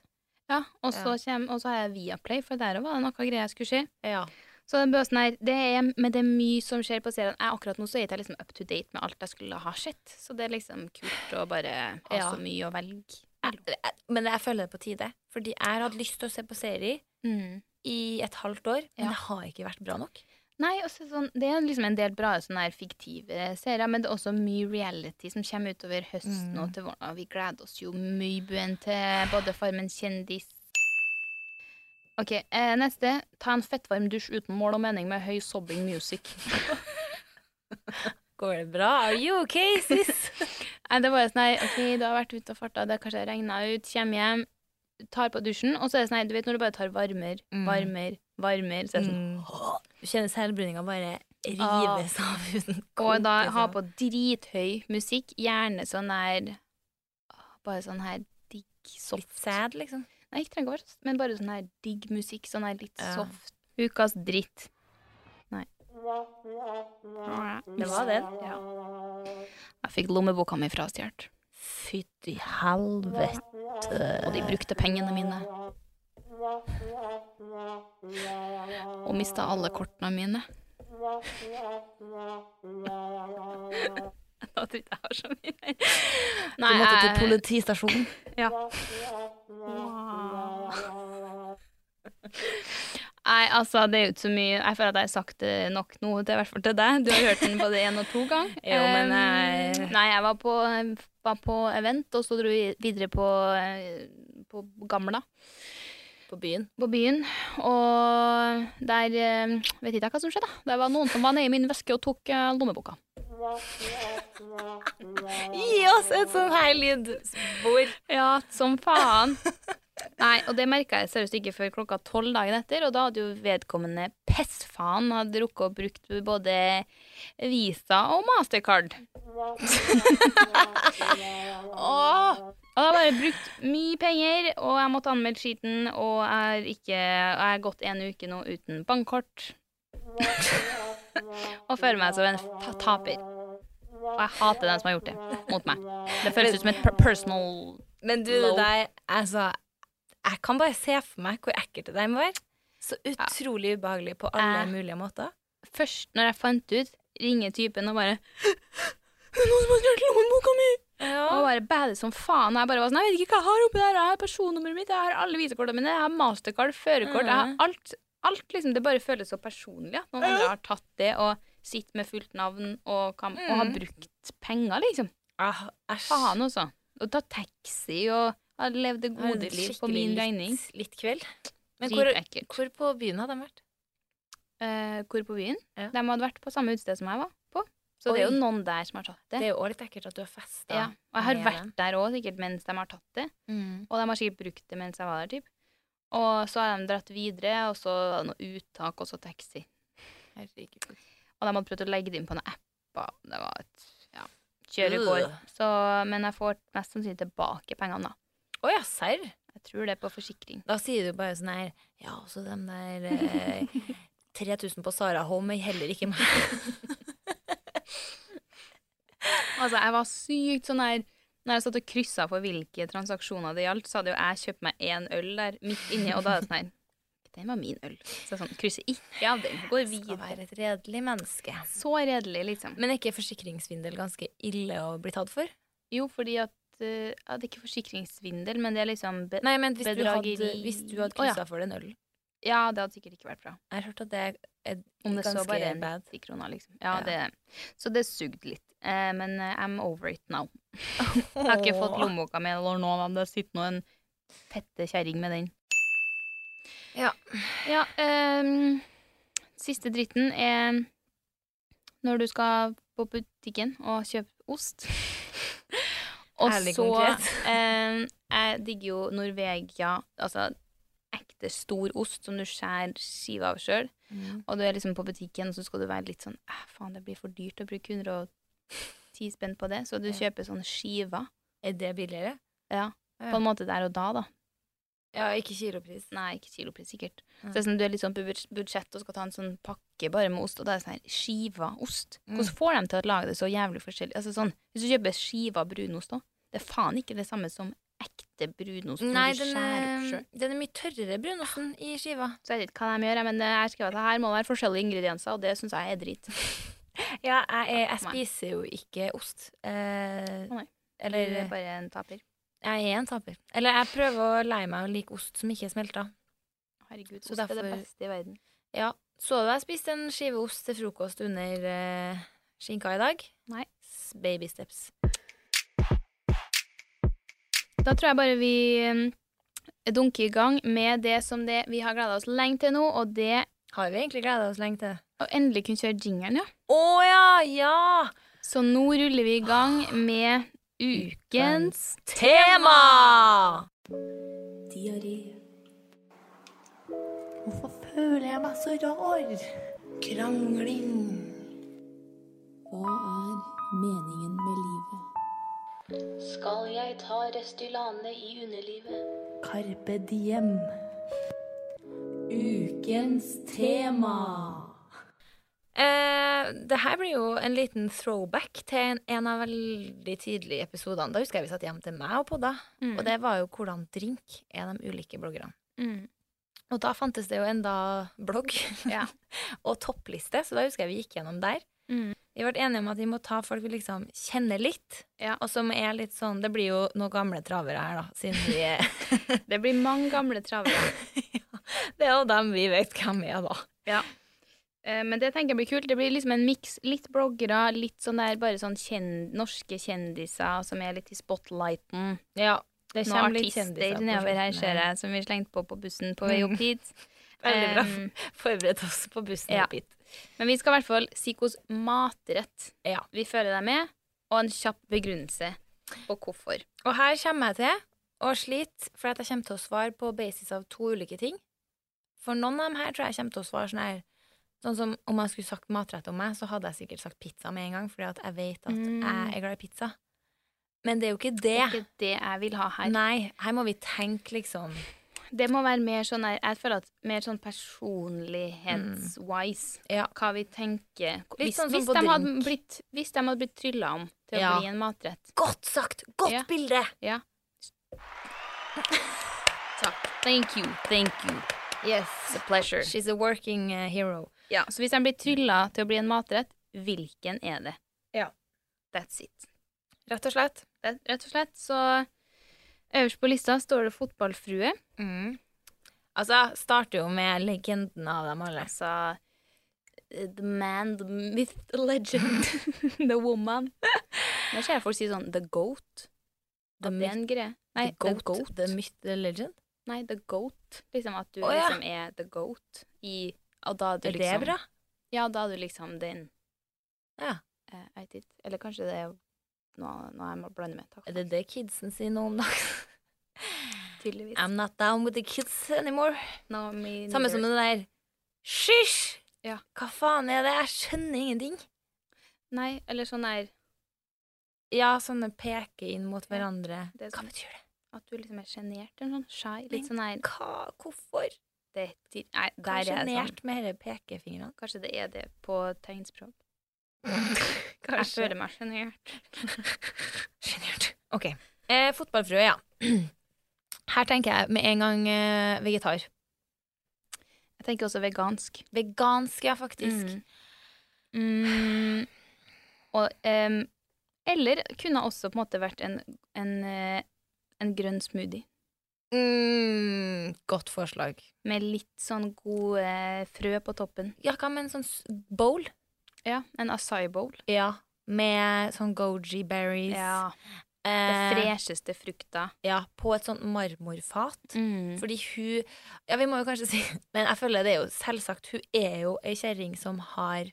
Speaker 4: Ja, Og så kjem- og så har jeg Viaplay, for der var det noe greier jeg skulle se.
Speaker 2: Ja.
Speaker 4: Så den bøsen her, det er, men det er mye som skjer på serien. Jeg, akkurat nå så er jeg ikke liksom up to date med alt jeg skulle ha sett. Så det er liksom kult å bare ha
Speaker 2: Ja.
Speaker 4: så mye å velge.
Speaker 2: Jeg, jeg, men jeg føler det på tide. Fordi jeg har hatt lyst til å se på serie
Speaker 4: Mm.
Speaker 2: i et halvt år, men
Speaker 4: Ja.
Speaker 2: det har ikke vært bra nok.
Speaker 4: Nei, og så sånn, det er liksom en del bra sånne her fiktive serier, men det er også mye reality som kommer utover høsten og til våren. Og vi gleder oss jo mye buen til både Farmen kjendis Ok, eh, neste. Ta en fettvarm dusj uten mål og mening med høy sobbing music.
Speaker 2: Går det bra? Are you okay, sis?
Speaker 4: Nei, det var jo sånn her, OK, du har vært ute og farta, det har kanskje regna ut, kommer hjem, tar på dusjen, og så er det sånn her, du vet når du bare tar varmer,
Speaker 2: Mm.
Speaker 4: varmer, varmer, så er det sånn
Speaker 2: Du kjenner selvbruninga bare
Speaker 4: Ah.
Speaker 2: rives av uten
Speaker 4: Og da
Speaker 2: liksom.
Speaker 4: ha på drithøy musikk, gjerne sånn her åh, Bare sånn her digg, soft
Speaker 2: Litt sad, liksom.
Speaker 4: Nei, ikke trenger å være sånn, men bare sånn her digg musikk, sånn her litt
Speaker 2: Ja.
Speaker 4: soft. Ukas dritt. Nei.
Speaker 2: Det var den.
Speaker 4: Ja. Jeg fikk lommeboka mi frastjålet,
Speaker 2: Fytti helvete.
Speaker 4: og de brukte pengene mine. Og mista alle kortene mine. Jeg tror ikke jeg har så mye mer. Nei,
Speaker 3: Du måtte til
Speaker 4: jeg-
Speaker 3: politistasjonen.
Speaker 4: Nei, altså, det er jo ikke så mye Jeg føler at jeg har sagt det nok nå, til, i hvert fall til deg. Du har hørt den både én og to ganger.
Speaker 2: Jo, men jeg-
Speaker 4: Nei, jeg var på, var på event, og så dro vi videre på, eh, på Gamla,
Speaker 2: På byen.
Speaker 4: på byen. Og der eh, vet ikke jeg hva som skjedde. Det var noen som var nede i min veske og tok eh, lommeboka.
Speaker 2: Gi oss et sånn her lydspor.
Speaker 4: Ja, som faen. Nei, og det merka jeg seriøst ikke før klokka tolv dagen etter, og da hadde jo vedkommende pissfaen hadde rukket å brukt både Visa og Mastercard. Åh! Og da bare brukt mye penger, og jeg måtte anmelde skiten, og jeg er ikke Jeg er gått en uke nå uten bankkort. og føler meg som en ta- taper. Og jeg hater den som har gjort det mot meg. Det føles ut som et per- personal
Speaker 2: Men du, det
Speaker 4: Lol.
Speaker 2: der, altså Jeg kan bare se for meg hvor ekkelt det der må være. Så utrolig ubehagelig på alle
Speaker 4: Eh.
Speaker 2: mulige måter.
Speaker 4: først når jeg fant ut, ringer typen og bare «Det er noen som har stjålet lommeboka mi! Og
Speaker 2: Ja.
Speaker 4: bare bader som faen. Og jeg bare var sånn, jeg vet ikke hva jeg har oppi der. Jeg har personnummeret mitt, jeg har alle visekortene mine, jeg har mastercard, førerkort, jeg
Speaker 2: Mm.
Speaker 4: har alt. alt liksom, det bare føles så personlig at noen andre har tatt det og sitter med fullt navn og, kan, og
Speaker 2: Mm.
Speaker 4: har brukt penger, liksom.
Speaker 2: Ah, Æsj.
Speaker 4: Faen også. Og ta taxi og har levd det
Speaker 2: Det var en
Speaker 4: gode liv på
Speaker 2: skikkelig
Speaker 4: min
Speaker 2: litt-
Speaker 4: regning.
Speaker 2: Litt kveld. Men hvor,
Speaker 4: Dritekkelt.
Speaker 2: hvor på byen hadde de vært?
Speaker 4: Eh, hvor på byen?
Speaker 2: Ja.
Speaker 4: De hadde vært på samme utested som jeg var på. Så det er
Speaker 2: Oi.
Speaker 4: jo noen der som har tatt
Speaker 2: Det er jo også litt ekkelt at du har festa.
Speaker 4: Ja, og jeg har
Speaker 2: med
Speaker 4: vært der òg, sikkert mens de har tatt det.
Speaker 2: Mm.
Speaker 4: Og de har sikkert brukt det mens jeg var der, typ. Og så har de dratt videre, og så var det noe uttak, og så taxi.
Speaker 2: Herregud.
Speaker 4: Og de hadde prøvd å legge det inn på noen apper. Det var et ja, kjøregård.
Speaker 2: Øh.
Speaker 4: Så, men jeg får mest sannsynlig tilbake pengene, da.
Speaker 2: Å ja, serr?
Speaker 4: Jeg tror det er på forsikring.
Speaker 2: Da sier du bare sånn her Ja, også dem der eh, 3000 på Sara Holm er heller ikke meg.
Speaker 4: Altså, jeg var sykt sånn her Når jeg satt og kryssa for hvilke transaksjoner det gjaldt, så hadde jo jeg kjøpt meg én øl der midt inni, og da er det sånn her Den var min øl. Så jeg sånn, krysser ikke av den. Går
Speaker 2: Skal
Speaker 4: videre.
Speaker 2: være et redelig menneske.
Speaker 4: Så redelig, liksom.
Speaker 2: Men er ikke forsikringssvindel ganske ille å bli tatt for?
Speaker 4: Jo, fordi at eh, ja, Det er ikke forsikringssvindel, men det er liksom be
Speaker 2: Nei, men hvis
Speaker 4: Bedrageri.
Speaker 2: du hadde, hvis du hadde
Speaker 4: Å, ja.
Speaker 2: kryssa for den ølen
Speaker 4: Ja, det hadde sikkert ikke vært bra.
Speaker 2: Jeg har hørt at det er et-
Speaker 4: Om det så
Speaker 2: ganske
Speaker 4: bare
Speaker 2: bad.
Speaker 4: 90 kroner, liksom. Ja,
Speaker 2: Ja.
Speaker 4: Det, så det sugde litt. Eh, men eh, I'm over it now. Jeg har ikke fått lommeboka mi eller noe, men det sitter nå en fette kjerring med den.
Speaker 2: Ja.
Speaker 4: Ja, ehm, siste dritten er når du skal på butikken og kjøpe ost. og
Speaker 2: Ærlig
Speaker 4: så
Speaker 2: konkret.
Speaker 4: ehm, jeg digger jo Norvegia, altså ekte stor ost som du skjærer skive av sjøl.
Speaker 2: Mm.
Speaker 4: Og du er liksom på butikken, så skal du være litt sånn «Æ, Faen, det blir for dyrt å bruke 110 spenn på det. Så du kjøper sånne skiver.
Speaker 2: Er det billigere?
Speaker 4: Ja,
Speaker 2: Ja.
Speaker 4: på en måte der og da, da.
Speaker 2: Ja, ikke kilopris.
Speaker 4: Nei, ikke kilopris, sikkert.
Speaker 2: Ja.
Speaker 4: Så det er sånn, Du er litt sånn på budsj- budsjett og skal ta en sånn pakke bare med ost, og da er det sånn her skiva ost.
Speaker 2: Mm.
Speaker 4: Hvordan får de til å lage det så jævlig forskjellig? Altså sånn, Hvis du kjøper skiva brunost, da, det er faen ikke det samme som ekte brunost. når
Speaker 2: Nei,
Speaker 4: du
Speaker 2: den eh,
Speaker 4: skjærer opp
Speaker 2: er,
Speaker 4: selv.
Speaker 2: den er mye tørrere brunosten i skiva.
Speaker 4: Så jeg vet ikke hva de gjør, jeg, men eh, jeg skrev at det her må være forskjellige ingredienser, og det syns jeg er drit.
Speaker 2: Ja, jeg, jeg, jeg
Speaker 4: Nei.
Speaker 2: spiser jo ikke ost. Eh,
Speaker 4: Å, nei.
Speaker 2: eller
Speaker 4: Eller bare en taper.
Speaker 2: jeg er en taper. Eller jeg prøver å leie meg å like ost som ikke er smelta.
Speaker 4: Herregud,
Speaker 2: Så
Speaker 4: ost er det
Speaker 2: derfor-
Speaker 4: beste i verden.
Speaker 2: Ja, så du jeg spiste en skive ost til frokost under eh, skinka i dag?
Speaker 4: Nei.
Speaker 2: S- Baby steps.
Speaker 4: Da tror jeg bare vi eh, dunker i gang med det som det vi har gleda oss lenge til nå, og det
Speaker 2: Har vi egentlig gleda oss lenge til det?
Speaker 4: å endelig kunne kjøre jingeren, ja.
Speaker 2: Å ja! Ja!
Speaker 4: Så nå ruller vi i gang med ukens
Speaker 2: Tema!
Speaker 5: Hvorfor føler jeg meg så rar? Krangling. Hva er meningen med livet?
Speaker 6: Skal jeg ta Restylane i underlivet?
Speaker 5: Carpe diem. Ukens tema.
Speaker 2: Eh, det her blir jo en liten throwback til en, en av veldig tidlige episodene. Da husker jeg vi satt hjem til meg og podda,
Speaker 4: Mm.
Speaker 2: og det var jo hvordan drink er de ulike bloggerne.
Speaker 4: Mm.
Speaker 2: Og da fantes det jo enda blogg
Speaker 4: Ja.
Speaker 2: og toppliste, så da husker jeg vi gikk gjennom der.
Speaker 4: Mm.
Speaker 2: Vi ble enige om at vi må ta folk vi liksom kjenner litt,
Speaker 4: Ja.
Speaker 2: og som er litt sånn Det blir jo noen gamle travere her, da, siden vi er
Speaker 4: Det blir mange gamle travere.
Speaker 2: Det er jo dem vi vet hvem er, da.
Speaker 4: Eh, Men det tenker jeg blir kult. Det blir liksom en miks. Litt bloggere, litt sånn der bare sånn kjen norske kjendiser som er litt i spotlighten.
Speaker 2: Ja, det
Speaker 4: Noen
Speaker 2: kommer litt
Speaker 4: artister
Speaker 2: kjendiser på
Speaker 4: nedover her,
Speaker 2: slutten Mm.
Speaker 4: ser jeg, som vi slengte på på bussen på vei opp dit.
Speaker 2: Veldig bra.
Speaker 4: Um,
Speaker 2: Forberedt oss på bussen
Speaker 4: Ja.
Speaker 2: opp hit.
Speaker 4: Men vi skal i hvert fall si hvordan matrett
Speaker 2: Ja.
Speaker 4: vi føler deg med, og en kjapp begrunnelse på hvorfor.
Speaker 2: Og her kommer jeg til å slite, for at jeg kommer til å svare på basis av to ulike ting. For noen av dem her tror jeg kommer til å svare sånn her Sånn som om jeg skulle sagt matrett om meg, så hadde jeg sikkert sagt pizza med en gang, fordi at jeg vet at
Speaker 4: Mm.
Speaker 2: jeg er glad i pizza. Men det er jo ikke
Speaker 4: Det
Speaker 2: det.
Speaker 4: er ikke det jeg vil ha her.
Speaker 2: Nei, her må vi tenke, liksom.
Speaker 4: Det må være mer sånn her, jeg føler at mer sånn personlighets-wise.
Speaker 2: Mm. Ja.
Speaker 4: Hva vi tenker
Speaker 2: Litt
Speaker 4: hvis,
Speaker 2: sånn som
Speaker 4: hvis,
Speaker 2: på
Speaker 4: de hadde
Speaker 2: drink.
Speaker 4: blitt, hvis de hadde blitt trylla om til
Speaker 2: Ja.
Speaker 4: å bli en matrett.
Speaker 2: Godt sagt! Godt
Speaker 4: Ja.
Speaker 2: bilde!
Speaker 4: Ja. Takk. Thank you. Thank you. It's
Speaker 2: Yes.
Speaker 4: a pleasure.
Speaker 2: She's a working eh, hero.
Speaker 4: Ja, så hvis de blir trylla til å bli en matrett, hvilken er det?
Speaker 2: Ja.
Speaker 4: That's it.
Speaker 2: Rett og slett.
Speaker 4: Det, rett og slett, så øverst på lista står det fotballfrue.
Speaker 2: Mm. Altså, starter jo med legenden av dem alle.
Speaker 4: Altså eh, The man, the myth, the legend, the woman. Nå ser jeg folk si sånn The goat.
Speaker 2: The
Speaker 4: At det er en greie. Nei,
Speaker 2: the goat, the, myth, the legend.
Speaker 4: Nei, the goat. Liksom at du
Speaker 2: Å, ja.
Speaker 4: liksom er the goat i Og da er du
Speaker 2: Er
Speaker 4: liksom
Speaker 2: det bra?
Speaker 4: Ja, da er du liksom den.
Speaker 2: Ja.
Speaker 4: Eh, I did. Eller kanskje det er noe, noe jeg må blande med. Takk.
Speaker 2: Er det det kidsen sier nå om dagen?
Speaker 4: Tydeligvis.
Speaker 2: I'm not down with the kids anymore.
Speaker 4: No, me
Speaker 2: Samme
Speaker 4: neither.
Speaker 2: som den der Hysj!
Speaker 4: Ja.
Speaker 2: Hva faen er det? Jeg skjønner ingenting.
Speaker 4: Nei, eller sånn der
Speaker 2: Ja, sånne peker inn mot hverandre.
Speaker 4: Det er
Speaker 2: Hva
Speaker 4: sånn-
Speaker 2: betyr det?
Speaker 4: at du liksom er sjenert eller sånn. Shy. Litt sånn der
Speaker 2: Hva? Hvorfor?
Speaker 4: det, de, Nei,
Speaker 2: Hva
Speaker 4: der
Speaker 2: er
Speaker 4: er jeg sånn.
Speaker 2: sjenert med disse pekefingrene?
Speaker 4: Kanskje det er det på tegnspråk. Jeg
Speaker 2: Kanskje.
Speaker 4: føler meg sjenert.
Speaker 2: Sjenert. OK. Eh, fotballfrue, ja. Her tenker jeg med en gang eh, vegetar.
Speaker 4: Jeg tenker også vegansk.
Speaker 2: Vegansk, ja, faktisk.
Speaker 4: Mm. Og, em, eller kunne også på en måte vært en, en, eh, en grønn smoothie.
Speaker 2: Mm, godt forslag.
Speaker 4: Med litt sånn gode frø på toppen.
Speaker 2: Ja, hva med en sånn s- bowl?
Speaker 4: Ja, En acai bowl.
Speaker 2: Ja. Med sånn goji berries.
Speaker 4: Ja, det
Speaker 2: Eh,
Speaker 4: fresheste frukta.
Speaker 2: ja, på et sånt marmorfat.
Speaker 4: Mm.
Speaker 2: Fordi hun Ja, vi må jo kanskje si Men jeg føler det er jo selvsagt. Hun er jo ei kjerring som har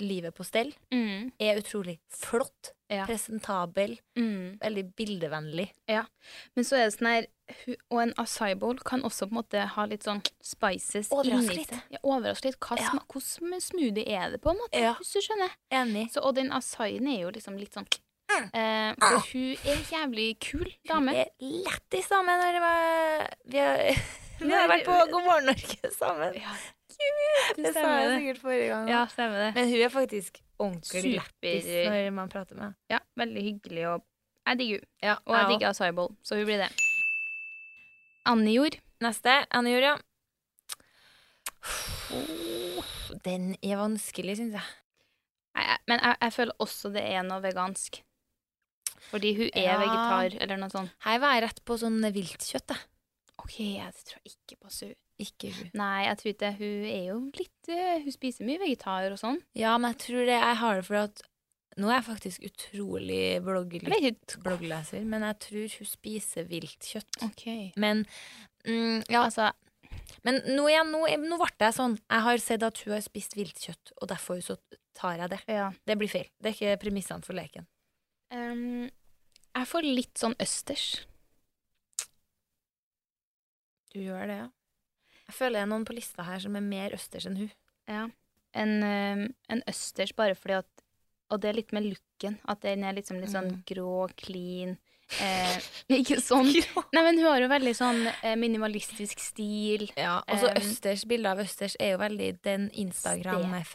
Speaker 2: livet på stell.
Speaker 4: Mm.
Speaker 2: Er utrolig flott.
Speaker 4: Ja.
Speaker 2: presentabel,
Speaker 4: Mm.
Speaker 2: veldig bildevennlig.
Speaker 4: Men så er det sånn her hu- Og en acai bowl kan også på en måte ha litt sånn spices
Speaker 2: Overraske
Speaker 4: inni
Speaker 2: litt.
Speaker 4: seg. Ja, overraske litt. Hva
Speaker 2: Ja.
Speaker 4: sma- Hvordan smoothie er det, på en måte?
Speaker 2: Ja.
Speaker 4: Hvis du skjønner.
Speaker 2: Enig.
Speaker 4: Så, og den acaien er jo liksom litt sånn
Speaker 2: Mm.
Speaker 4: eh, For hun er en jævlig kul dame.
Speaker 2: Jeg lette sammen når det var Vi har, vi har vært på God morgen Norge sammen.
Speaker 4: Ja,
Speaker 2: Det sa
Speaker 4: stemmer
Speaker 2: jeg
Speaker 4: det.
Speaker 2: sikkert forrige gang.
Speaker 4: ja stemmer det.
Speaker 2: Men hun er faktisk ordentlig lættis
Speaker 4: Super-
Speaker 2: når man prater med henne.
Speaker 4: Ja, veldig hyggelig og Jeg digger hun.
Speaker 2: Ja,
Speaker 4: Og jeg digger acai bowl, så hun blir det. Annijord.
Speaker 2: Neste. Anne Julia. Den er vanskelig, syns jeg.
Speaker 4: Nei, jeg- Men jeg, jeg føler også det er noe vegansk. Fordi hun er
Speaker 2: Ja.
Speaker 4: vegetar, eller noe sånt.
Speaker 2: Her var jeg rett på sånn viltkjøtt. jeg.
Speaker 4: OK, jeg tror jeg ikke passer hun.
Speaker 2: Ikke hun.
Speaker 4: Nei, jeg tror ikke det. Hun er jo litt eh, Hun spiser mye vegetar og sånn.
Speaker 2: Ja, men jeg tror det jeg har det for at Nå er jeg faktisk utrolig
Speaker 4: Jeg
Speaker 2: bloggelig
Speaker 4: vet ikke.
Speaker 2: bloggleser, men jeg tror hun spiser viltkjøtt.
Speaker 4: OK.
Speaker 2: Men mm, ja, altså Men nå, igjen, nå, nå ble jeg sånn. Jeg har sett at hun har spist viltkjøtt, og derfor så tar jeg det.
Speaker 4: Ja.
Speaker 2: Det blir feil. Det er ikke premissene for leken.
Speaker 4: Ehm, jeg får litt sånn østers.
Speaker 2: Du gjør det, ja. Jeg føler det er noen på lista her som er mer østers enn hun.
Speaker 4: En, ehm, en østers bare fordi at Og det er litt med looken. At den er liksom litt sånn grå, clean. Eh, ikke sånn. Nei, men hun har jo veldig sånn eh, minimalistisk stil.
Speaker 2: Ja, og så
Speaker 4: Em,
Speaker 2: østers, bildet av østers er jo veldig den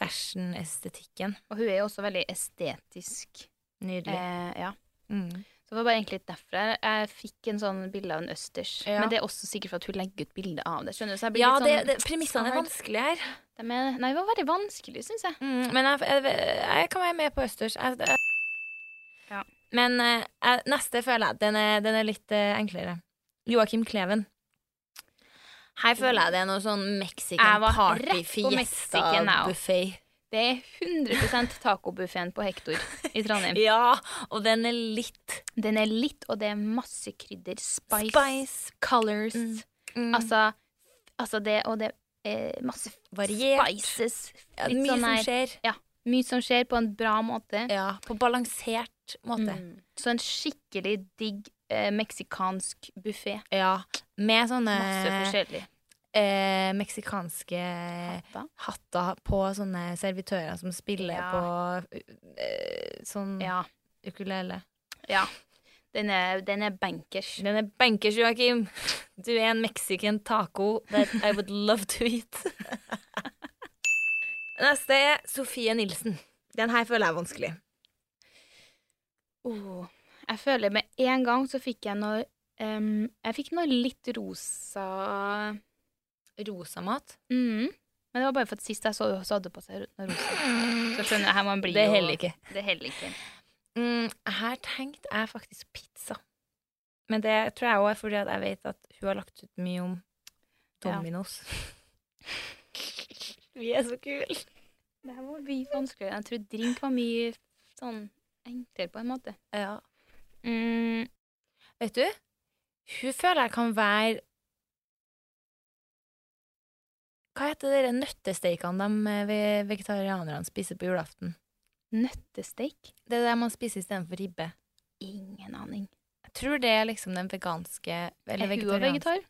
Speaker 2: Instagram-fashion-estetikken.
Speaker 4: Og hun er jo også veldig estetisk.
Speaker 2: Nydelig.
Speaker 4: Eh, ja.
Speaker 2: Mm.
Speaker 4: Så det var bare egentlig litt derfor jeg, jeg fikk en sånn bilde av en østers.
Speaker 2: Ja.
Speaker 4: Men det er også sikkert for at hun legger ut bilde av det. Skjønner du? Så jeg blir
Speaker 2: Ja, det,
Speaker 4: litt sånn
Speaker 2: det, premissene er
Speaker 4: scarred.
Speaker 2: vanskelige her.
Speaker 4: De er- Nei, det var veldig vanskelig, syns jeg.
Speaker 2: Mm, men jeg, jeg, jeg kan være med på østers. Jeg, jeg.
Speaker 4: Ja.
Speaker 2: Men eh, jeg, neste føler jeg den er, den er litt eh, enklere. Joakim Kleven. Her føler jeg det er noe sånn
Speaker 4: Jeg
Speaker 2: Mexican
Speaker 4: var
Speaker 2: party,
Speaker 4: rett på
Speaker 2: fiesta,
Speaker 4: Mexican, jeg også.
Speaker 2: buffé.
Speaker 4: Det er 100 tacobuffeen på Hektor i Trondheim.
Speaker 2: Ja, og den er litt
Speaker 4: Den er litt, og det er masse krydder. Spice,
Speaker 2: Spice.
Speaker 4: colors.
Speaker 2: Mm. mm,
Speaker 4: Altså, altså det, og det er masse
Speaker 2: variert.
Speaker 4: spices.
Speaker 2: Ja,
Speaker 4: Litt
Speaker 2: mye
Speaker 4: sånn
Speaker 2: som
Speaker 4: her,
Speaker 2: skjer.
Speaker 4: mye som skjer på en bra måte.
Speaker 2: Ja, på balansert måte.
Speaker 4: Mm. Så en skikkelig digg eh, meksikansk buffé.
Speaker 2: Ja, med sånne
Speaker 4: Masse forskjellig.
Speaker 2: eh, meksikanske
Speaker 4: Pappa.
Speaker 2: hatter på sånne servitører som spiller
Speaker 4: Ja.
Speaker 2: på eh, sånn
Speaker 4: Ja.
Speaker 2: ukulele.
Speaker 4: ja. Den er, den er bankers.
Speaker 2: Den er benkers, Joakim. Du er en mexican taco that I would love to eat. Neste er Sofie Nilsen. Den her føler jeg er vanskelig.
Speaker 4: Oh. Jeg føler med en gang så fikk jeg noe em, Jeg fikk noe litt rosa
Speaker 2: Rosamat.
Speaker 4: Mhm. Men det var bare for at sist jeg så henne, så hadde hun på seg ro- rosa. Så skjønner jeg, her man blir
Speaker 2: Det
Speaker 4: jo-
Speaker 2: heller ikke.
Speaker 4: Det heller ikke.
Speaker 2: Mm, her tenkte jeg faktisk pizza. Men det tror jeg òg er fordi at jeg vet at hun har lagt ut mye om
Speaker 4: Ja.
Speaker 2: Dominos. Vi er så kule.
Speaker 4: Det her var mye vanskeligere. Jeg tror drink var mye sånn enklere på en måte.
Speaker 2: Ja.
Speaker 4: Mm,
Speaker 2: Vet du, hun føler jeg kan være Hva heter de nøttesteikene de eh, ve- vegetarianerne spiser på julaften?
Speaker 4: nøttesteik?
Speaker 2: Det er det man spiser istedenfor ribbe.
Speaker 4: Ingen aning.
Speaker 2: Jeg tror det er liksom den veganske
Speaker 4: Er
Speaker 2: eller
Speaker 4: hun også
Speaker 2: vegetarianske
Speaker 4: vegetar?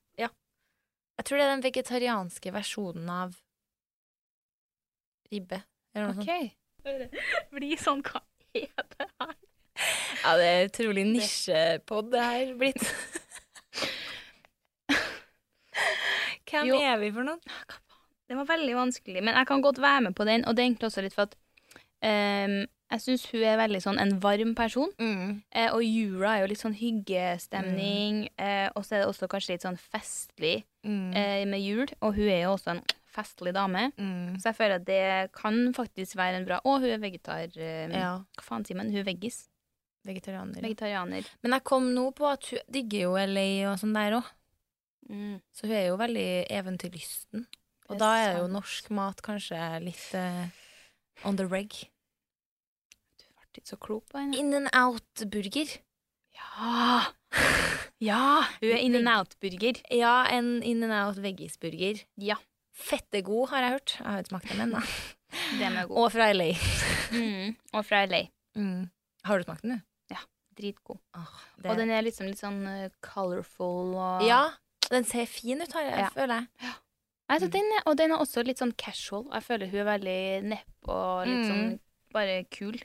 Speaker 2: Jeg tror det er den vegetarianske versjonen av ribbe. Eller noe sånt.
Speaker 4: OK. Blir sånn, hva er det her?
Speaker 2: Ja, det er utrolig nisjepod det her blitt. Hvem
Speaker 4: Jo.
Speaker 2: er vi for noen?
Speaker 4: Den var veldig vanskelig, men jeg kan godt være med på den. Og det er egentlig også litt for at em, jeg syns hun er veldig sånn en varm person.
Speaker 2: Mm,
Speaker 4: Eh, og jula er jo litt sånn hyggestemning, eh, og så er det også kanskje litt sånn festlig
Speaker 2: Mm.
Speaker 4: eh, med jul. Og hun er jo også en festlig dame,
Speaker 2: Mm.
Speaker 4: så jeg føler at det kan faktisk være en bra Å, hun er vegetar... Eh,
Speaker 2: Ja,
Speaker 4: Hva faen sier man? Hun er veggis.
Speaker 2: vegetarianer.
Speaker 4: Vegetarianer.
Speaker 2: Men jeg kom nå på at hun digger jo LA og sånn der òg,
Speaker 4: Mm.
Speaker 2: så hun er jo veldig eventyrlysten. Og
Speaker 4: Det er
Speaker 2: da er jo
Speaker 4: sant.
Speaker 2: norsk mat kanskje litt eh, on the reg.
Speaker 4: Du ble ikke så klok på henne.
Speaker 2: In and out-burger.
Speaker 4: Ja! Ja! Hun er in and out-burger.
Speaker 2: Ja, en in and out veggisburger.
Speaker 4: Ja.
Speaker 2: Fettegod, har jeg hørt. Jeg har ikke smakt dem ennå.
Speaker 4: Den er god.
Speaker 2: Og fra LA.
Speaker 4: Mm. Og fra LA.
Speaker 2: Har du smakt den, du?
Speaker 4: Dritgod.
Speaker 2: Det-
Speaker 4: Og den er liksom litt sånn eh, colorful og
Speaker 2: Ja, den ser fin ut, har jeg,
Speaker 4: Ja.
Speaker 2: føler jeg.
Speaker 4: Nei, så den er, og den er også litt sånn casual. Jeg føler hun er veldig nepp og litt
Speaker 2: Mm.
Speaker 4: sånn bare kul.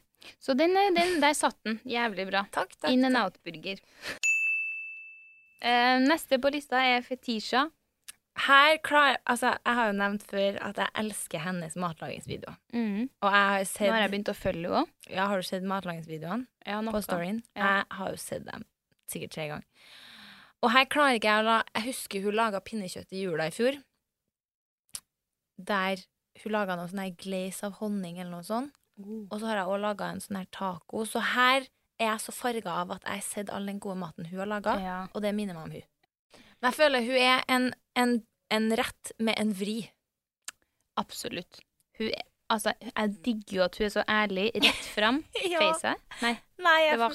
Speaker 4: Så den, er- den, der satt den. Jævlig bra.
Speaker 2: Takk, takk.
Speaker 4: In and out-burger. Eh, neste på lista er Fetisha.
Speaker 2: Her klar, altså, jeg har jo nevnt før at jeg elsker hennes matlagingsvideoer. Og jeg har
Speaker 4: Nå har jeg
Speaker 2: sett
Speaker 4: begynt å følge henne òg.
Speaker 2: Ja, har du sett matlagingsvideoene
Speaker 4: Ja, noe.
Speaker 2: på storyen?
Speaker 4: Ja.
Speaker 2: Jeg har jo sett dem sikkert tre ganger. Og her klarer ikke jeg å la Jeg husker hun laga pinnekjøtt i jula i fjor. Der hun laga noe sånn her glaze av honning eller noe sånt.
Speaker 4: Oh.
Speaker 2: Og så har jeg òg laga en sånn her taco. Så her er jeg så farga av at jeg har sett all den gode maten hun har laga.
Speaker 4: Ja.
Speaker 2: Og det minner meg om hun. Men jeg føler hun er en, en, en rett med en vri.
Speaker 4: Absolutt. Hun er, altså, jeg digger jo at hun er så ærlig. Rett fram.
Speaker 2: Ja.
Speaker 4: Face. Nei,
Speaker 2: Nei,
Speaker 4: det var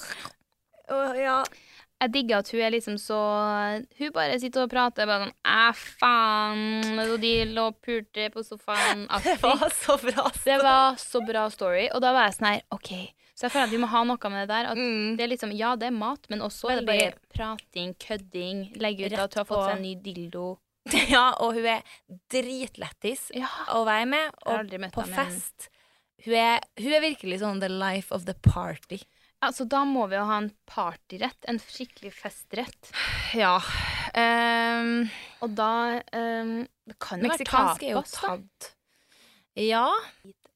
Speaker 4: Jeg digger at hun er liksom så Hun bare sitter og prater bare sånn Æh, faen. Og de lå og pulte på sofaen.
Speaker 2: Det var så bra.
Speaker 4: Det var så bra story. Og da var jeg sånn her OK. Så jeg føler at vi må ha noe med det der. At
Speaker 2: Mm.
Speaker 4: det er liksom, ja, det er mat, men også er det bare
Speaker 2: Veldig-
Speaker 4: prating, kødding. Legge ut
Speaker 2: Rett
Speaker 4: at hun har fått
Speaker 2: på.
Speaker 4: seg en ny dildo.
Speaker 2: Ja, og hun er dritlættis
Speaker 4: Ja.
Speaker 2: å være med,
Speaker 4: Jeg har
Speaker 2: og
Speaker 4: aldri møtt
Speaker 2: på
Speaker 4: henne, men-
Speaker 2: fest. Hun er, hun er virkelig sånn the life of the party.
Speaker 4: Altså, da må vi jo ha en partyrett. En skikkelig festrett.
Speaker 2: Ja.
Speaker 4: Og da ehm, Det kan jo være
Speaker 2: Meksikansk er jo
Speaker 4: tapas, da.
Speaker 2: tatt. Ja.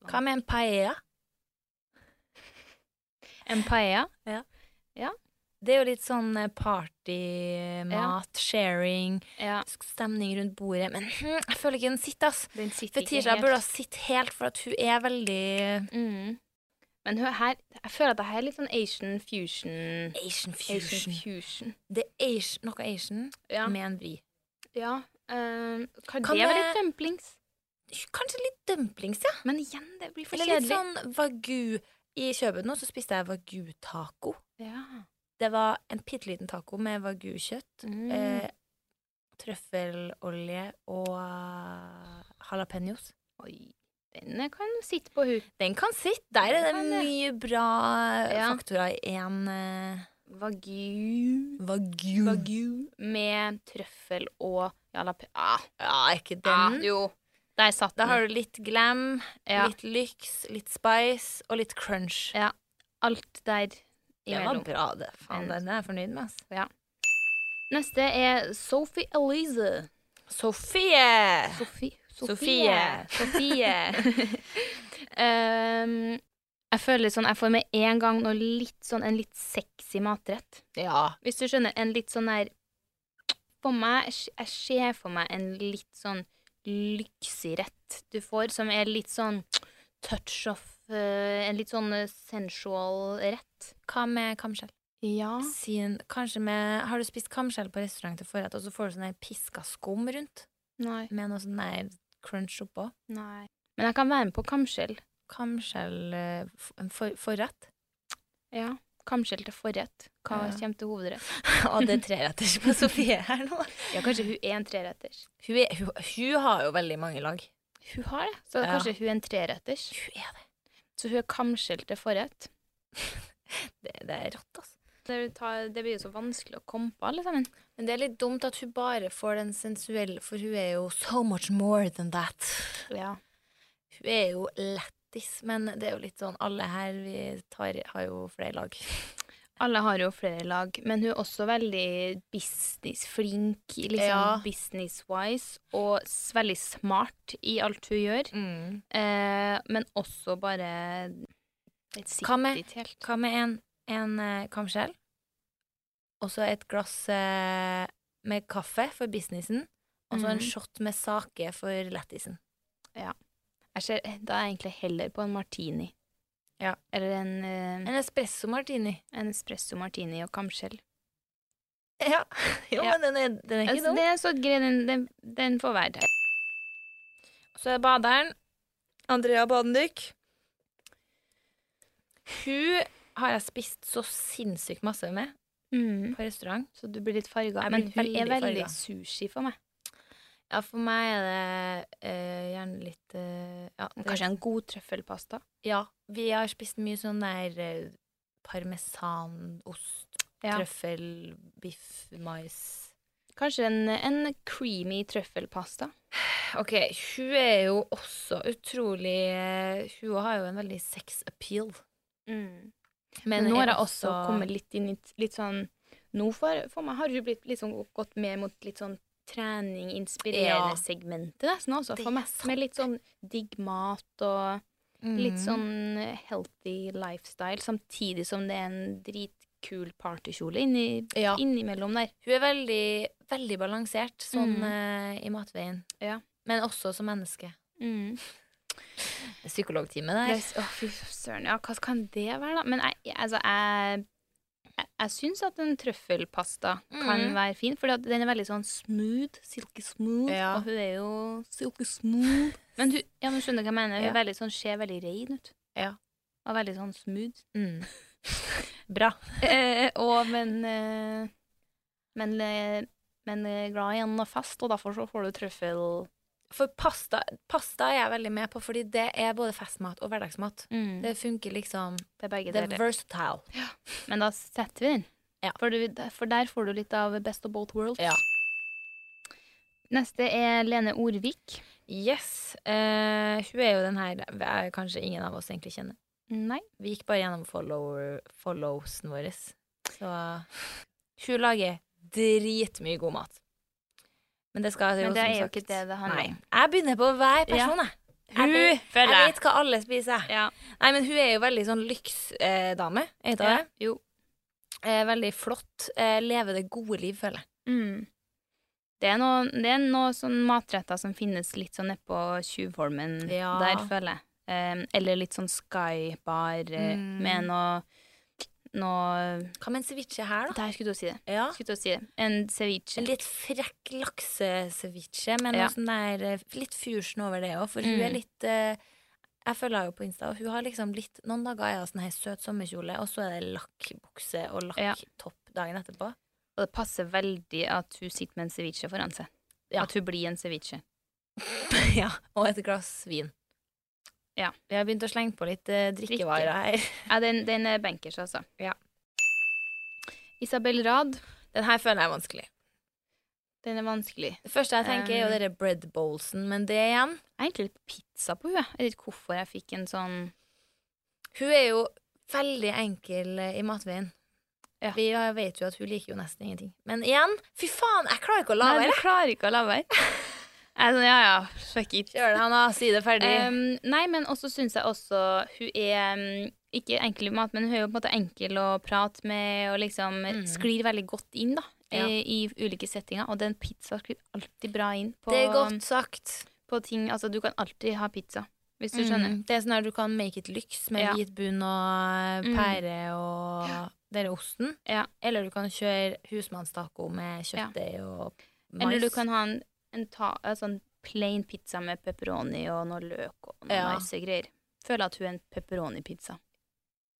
Speaker 2: Hva med en paella?
Speaker 4: En paella.
Speaker 2: Det er jo litt sånn eh, party, mat, sharing,
Speaker 4: Ja.
Speaker 2: stemning rundt bordet. Men hm, jeg føler ikke den sitter, ass.
Speaker 4: Den sitter ikke
Speaker 2: Fetisha
Speaker 4: helt.
Speaker 2: burde ha sittet helt, for at hun er veldig
Speaker 4: Mm. Men hun er her, jeg føler at det her er litt sånn Asian fusion.
Speaker 2: Asian
Speaker 4: Asian
Speaker 2: fusion.
Speaker 4: fusion.
Speaker 2: Det er Asi- noe Asian
Speaker 4: Ja.
Speaker 2: med en vri.
Speaker 4: ja. ehm, kan,
Speaker 2: Kan
Speaker 4: det være
Speaker 2: det-
Speaker 4: litt dumplings?
Speaker 2: Kanskje litt dumplings, ja.
Speaker 4: Men igjen, det blir for
Speaker 2: Eller litt
Speaker 4: kjedelig.
Speaker 2: sånn wagyu. I Kjøben nå så spiste jeg wagyu-taco.
Speaker 4: Ja.
Speaker 2: Det var en bitte liten taco med wagyu-kjøtt,
Speaker 4: Mm.
Speaker 2: eh, trøffelolje og uh, jalapeños.
Speaker 4: Oi, den kan sitte på hun.
Speaker 2: Den kan sitte. Der er det
Speaker 4: Den kan det.
Speaker 2: mye bra eh,
Speaker 4: Ja.
Speaker 2: faktorer i én eh,
Speaker 4: Wagyu
Speaker 2: wagyu.
Speaker 4: med trøffel og jalapeño. Ah,
Speaker 2: Ja, er ikke
Speaker 4: ah,
Speaker 2: den?
Speaker 4: jo. Der satt
Speaker 2: da
Speaker 4: den.
Speaker 2: har du litt glam,
Speaker 4: Ja.
Speaker 2: litt lyx, litt spice og litt crunch.
Speaker 4: Ja. Alt der
Speaker 2: Det var
Speaker 4: imellom.
Speaker 2: bra, det.
Speaker 4: Mm.
Speaker 2: Faen, den er jeg fornøyd med. ass.
Speaker 4: Neste er Sophie Elise.
Speaker 2: Sofie!
Speaker 4: Sophie.
Speaker 2: Sofie.
Speaker 4: Sofie. Ehm, jeg føler sånn, jeg får med en gang noe litt sånn, en litt sexy matrett.
Speaker 2: Ja.
Speaker 4: Hvis du skjønner, en litt sånn der For meg, jeg ser for meg en litt sånn lyksig rett du får, som er litt sånn touch of eh, En litt sånn eh, sensual rett.
Speaker 2: Hva med kamskjell?
Speaker 4: Ja.
Speaker 2: Sin, kanskje med Har du spist kamskjell på restaurant til forrett, og så får du sånn her piska skum rundt?
Speaker 4: Nei.
Speaker 2: Med noe sånn her crunch oppå?
Speaker 4: Nei. Men jeg kan være med på kamskjell.
Speaker 2: Kamskjell eh, f- en for, forrett?
Speaker 4: Ja. Kamskjell til forrett. Hva
Speaker 2: Ja.
Speaker 4: kommer til hovedrett?
Speaker 2: Og det er treretters på Sofie her nå.
Speaker 4: Ja, kanskje hun er en treretters.
Speaker 2: Hun, er, hun, hun har jo veldig mange lag.
Speaker 4: Hun har det. Så
Speaker 2: Ja.
Speaker 4: kanskje hun er en treretters.
Speaker 2: Hun er det.
Speaker 4: Så hun er kamskjell til forrett.
Speaker 2: Det, det er rått, altså.
Speaker 4: Det, tar, det blir jo så vanskelig å komme på, alle sammen.
Speaker 2: Men det er litt dumt at hun bare får den sensuelle, for hun er jo so much more than that.
Speaker 4: Ja.
Speaker 2: Hun er jo lættis, men det er jo litt sånn alle her vi tar, har jo flere lag.
Speaker 4: Alle har jo flere lag, men hun er også veldig businessflink, liksom
Speaker 2: Ja.
Speaker 4: business-wise, og s- veldig smart i alt hun gjør. Eh, men også bare et
Speaker 2: Hva med-
Speaker 4: sittet helt.
Speaker 2: Hva med en, en eh, kamskjell? Og så et glass eh, med kaffe for businessen. Og så en
Speaker 4: Mhm.
Speaker 2: shot med sake for lettisen.
Speaker 4: Jeg ser, da er jeg egentlig heller på en martini.
Speaker 2: Ja.
Speaker 4: Eller en, eh,
Speaker 2: En espresso martini.
Speaker 4: en espresso martini og kamskjell.
Speaker 2: Ja, jo,
Speaker 4: Ja.
Speaker 2: men den er, den er ikke
Speaker 4: Altså,
Speaker 2: dum.
Speaker 4: det er så grei, den, den, den får være der.
Speaker 2: Så er baderen Andrea Badendyk. Hun har jeg spist så sinnssykt masse med
Speaker 4: Mm.
Speaker 2: på restaurant.
Speaker 4: Så du blir litt farga.
Speaker 2: Jeg
Speaker 4: Men
Speaker 2: blir
Speaker 4: hun er
Speaker 2: veldig
Speaker 4: veldig
Speaker 2: farget.
Speaker 4: sushi for meg.
Speaker 2: Ja, for meg er det eh, gjerne litt eh, ja, det-
Speaker 4: Kanskje en god trøffelpasta.
Speaker 2: Ja, vi har spist mye sånn der eh, parmesanost,
Speaker 4: Ja.
Speaker 2: trøffel, biff, mais.
Speaker 4: Kanskje en, en creamy trøffelpasta.
Speaker 2: Ok, hun er jo også utrolig eh, Hun har jo en veldig sex appeal.
Speaker 4: Men nå
Speaker 2: er
Speaker 4: har jeg også kommet litt inn i t- litt sånn Nå for, for meg har du blitt litt sånn, gått mer mot litt sånn trening,
Speaker 2: Ja.
Speaker 4: inspirerende segmentet nesten også.
Speaker 2: Det
Speaker 4: For
Speaker 2: er
Speaker 4: meg med litt sånn digg mat og litt
Speaker 2: Mm.
Speaker 4: sånn healthy lifestyle, samtidig som det er en dritkul partykjole inni,
Speaker 2: Ja.
Speaker 4: innimellom der.
Speaker 2: Hun er veldig, veldig balansert sånn eh, i matveien.
Speaker 4: Ja.
Speaker 2: Men også som menneske.
Speaker 4: Mm.
Speaker 2: Psykologtime
Speaker 4: Det,
Speaker 2: der.
Speaker 4: er- å, fy søren. Ja, hva kan det være, da? Men jeg, jeg- altså, jeg jeg, jeg syns at en trøffelpasta kan
Speaker 2: Mm.
Speaker 4: være fin, for den er veldig sånn smooth. Silky smooth.
Speaker 2: Ja.
Speaker 4: Og hun er jo silky
Speaker 2: Mm.
Speaker 4: smooth. Men du ja, men skjønner hva jeg mener. Hun
Speaker 2: Ja.
Speaker 4: er veldig sånn, ser veldig rein ut.
Speaker 2: Ja.
Speaker 4: Og veldig sånn smooth.
Speaker 2: Mm. Bra.
Speaker 4: Eh, og men eh, men, eh, men eh, glad i en fest, og derfor så får du trøffel
Speaker 2: For pasta, pasta er jeg veldig med på, fordi det er både festmat og hverdagsmat.
Speaker 4: det,
Speaker 2: Det funker liksom
Speaker 4: det er begge
Speaker 2: Det er
Speaker 4: deler.
Speaker 2: versatile.
Speaker 4: Men da setter vi den.
Speaker 2: Ja.
Speaker 4: For, du, for der får du litt av best of both worlds.
Speaker 2: Ja.
Speaker 4: Neste er Lene Orvik.
Speaker 2: Yes. eh, hun er jo den her er kanskje ingen av oss egentlig kjenner.
Speaker 4: Nei.
Speaker 2: Vi gikk bare gjennom follower, followsen vår. Så hun lager dritmye god mat. Men det skal jo
Speaker 4: Men det
Speaker 2: som
Speaker 4: er jo
Speaker 2: sagt-
Speaker 4: ikke det det handler
Speaker 2: Nei.
Speaker 4: om.
Speaker 2: Jeg begynner på hver person, jeg.
Speaker 4: Jeg
Speaker 2: Hun,
Speaker 4: føler
Speaker 2: jeg
Speaker 4: det.
Speaker 2: vet hva alle spiser.
Speaker 4: Ja.
Speaker 2: Nei, men hun er jo veldig sånn lyksdame. Eh, dame, er ikke
Speaker 4: Ja,
Speaker 2: det? Eh, veldig flott. Eh, lever det gode liv, føler jeg.
Speaker 4: Mm. Det er noen noe noen sånn matretter som finnes litt sånn nedpå Tjuvholmen
Speaker 2: Ja.
Speaker 4: der, føler jeg. Em, eller litt sånn Sky-bar eh,
Speaker 2: Mm.
Speaker 4: med noe, noe
Speaker 2: Hva med en ceviche her, da?
Speaker 4: Der skulle du si det.
Speaker 2: Ja.
Speaker 4: Skulle du si det. En ceviche.
Speaker 2: En litt frekk lakseseviche, men
Speaker 4: Ja.
Speaker 2: noe sånn der, eh, litt fusion over det òg. For
Speaker 4: Mm.
Speaker 2: hun er litt eh, Jeg følger henne jo på Insta, og hun har liksom litt Noen dager er hun sånn her søt sommerkjole, og så er det lakkbukse og
Speaker 4: Ja.
Speaker 2: lakktopp dagen etterpå.
Speaker 4: Og det passer veldig at hun sitter med en ceviche foran seg.
Speaker 2: Ja.
Speaker 4: At hun blir en ceviche.
Speaker 2: ja, Og et glass vin.
Speaker 4: Ja.
Speaker 2: Vi har begynt å slenge på litt eh, drikkevarer her.
Speaker 4: Ja, den, den er bankers, altså.
Speaker 2: Ja.
Speaker 4: Isabel Rad,
Speaker 2: Den her føler jeg er vanskelig.
Speaker 4: den er vanskelig.
Speaker 2: Det første jeg tenker, er jo dere bread bowlsen, men det igjen
Speaker 4: Jeg er egentlig litt på pizza på henne. Jeg vet ikke hvorfor jeg fikk en sånn
Speaker 2: Hun er jo veldig enkel eh, i matveien.
Speaker 4: Ja.
Speaker 2: Vi har- vet jo at hun liker jo nesten ingenting. Men igjen, fy faen, jeg klarer ikke å la
Speaker 4: Nei,
Speaker 2: være! Altså,
Speaker 4: du klarer ikke å la være. Jeg er sånn, ja, ja, fuck it.
Speaker 2: Kjør det, Hanna. Si det ferdig.
Speaker 4: Em, nei, men også syns jeg også hun er em, ikke enkel i mat, men hun er jo på en måte enkel å prate med og liksom sklir veldig godt inn da,
Speaker 2: Mm.
Speaker 4: eh,
Speaker 2: Ja.
Speaker 4: i, i ulike settinger. Og den pizza sklir alltid bra inn på,
Speaker 2: det er godt sagt.
Speaker 4: på ting Altså, du kan alltid ha pizza, hvis du skjønner.
Speaker 2: Mm. Det er sånn at du kan make it lyks med
Speaker 4: Ja.
Speaker 2: hvit bunn og eh,
Speaker 4: Mm.
Speaker 2: pære og denne osten.
Speaker 4: Ja.
Speaker 2: Eller du kan kjøre husmannstaco med
Speaker 4: Ja.
Speaker 2: kjøttdeig og mais.
Speaker 4: Eller du kan ha en, en, ta, en sånn plain pizza med pepperoni og noe løk og noe
Speaker 2: Ja.
Speaker 4: nice greier. Føler at hun er en pepperoni-pizza.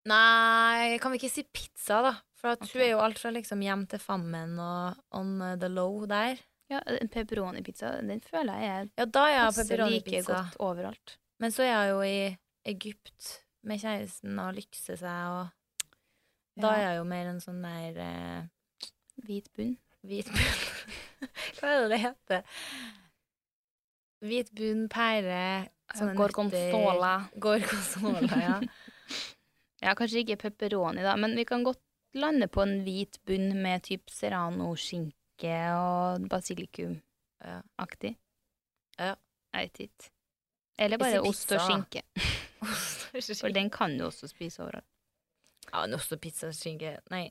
Speaker 2: Nei, kan vi ikke si pizza, da? For at
Speaker 4: Ok.
Speaker 2: hun er jo alt fra liksom hjem til fammen og on the low der.
Speaker 4: Ja, en pepperoni-pizza, den føler jeg er
Speaker 2: Ja, da er jeg
Speaker 4: passer like
Speaker 2: pepperoni-pizza.
Speaker 4: godt overalt.
Speaker 2: Men så er jeg jo i Egypt med kjæresten og lykser seg, og da er
Speaker 4: Ja.
Speaker 2: jeg jo mer en sånn der eh,
Speaker 4: Hvit bunn.
Speaker 2: Hvit bunn Hva er det det heter? Hvit bunn, pære sånne
Speaker 4: Gorgonzola.
Speaker 2: nøtter. Gorgonzola, ja.
Speaker 4: Ja, kanskje ikke pepperoni, da, men vi kan godt lande på en hvit bunn med typ serrano-skinke
Speaker 2: Ja.
Speaker 4: og basilikum-aktig.
Speaker 2: Ja.
Speaker 4: Jeg vet ikke. Eller
Speaker 2: Jeg
Speaker 4: bare
Speaker 2: sier
Speaker 4: ost og
Speaker 2: pizza, da.
Speaker 4: skinke. For den kan du også spise overalt.
Speaker 2: ja, men også pizza og skinke Nei.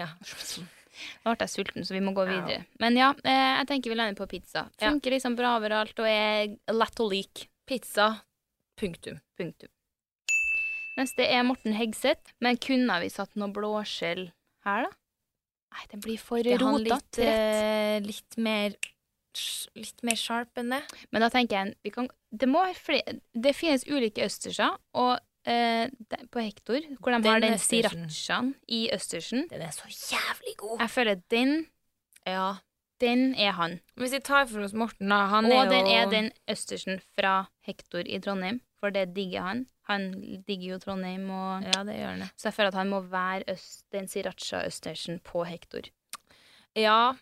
Speaker 2: Ja.
Speaker 4: Nå ble jeg sulten, så vi må gå videre. Men ja, eh, jeg tenker vi lander på pizza.
Speaker 2: Ja.
Speaker 4: Funker liksom bra overalt og er lett å like.
Speaker 2: Pizza. Punktum.
Speaker 4: Punktum. Neste er Morten Hegseth. Men kunne vi satt noe blåskjell her, da? Nei, den blir for
Speaker 2: Er han litt,
Speaker 4: rotete.
Speaker 2: eh,
Speaker 4: Rett.
Speaker 2: litt mer Litt mer sharp enn det?
Speaker 4: Men da tenker jeg vi kan, det, må være flere, det finnes ulike østerser, og eh, de- på Hektor, hvor de
Speaker 2: Den
Speaker 4: har den
Speaker 2: østersen.
Speaker 4: srirachaen i østersen.
Speaker 2: Den er så jævlig god!
Speaker 4: Jeg føler den,
Speaker 2: Ja.
Speaker 4: den er han.
Speaker 2: Hvis vi tar for oss Morten, da. Han
Speaker 4: og
Speaker 2: er jo
Speaker 4: den er den østersen fra Hektor i Trondheim. for det digger han. Han digger jo Trondheim, og,
Speaker 2: Ja, det gjør han. det.
Speaker 4: så jeg føler at han må være øst, den siracha østersen på Hector.
Speaker 2: Ja.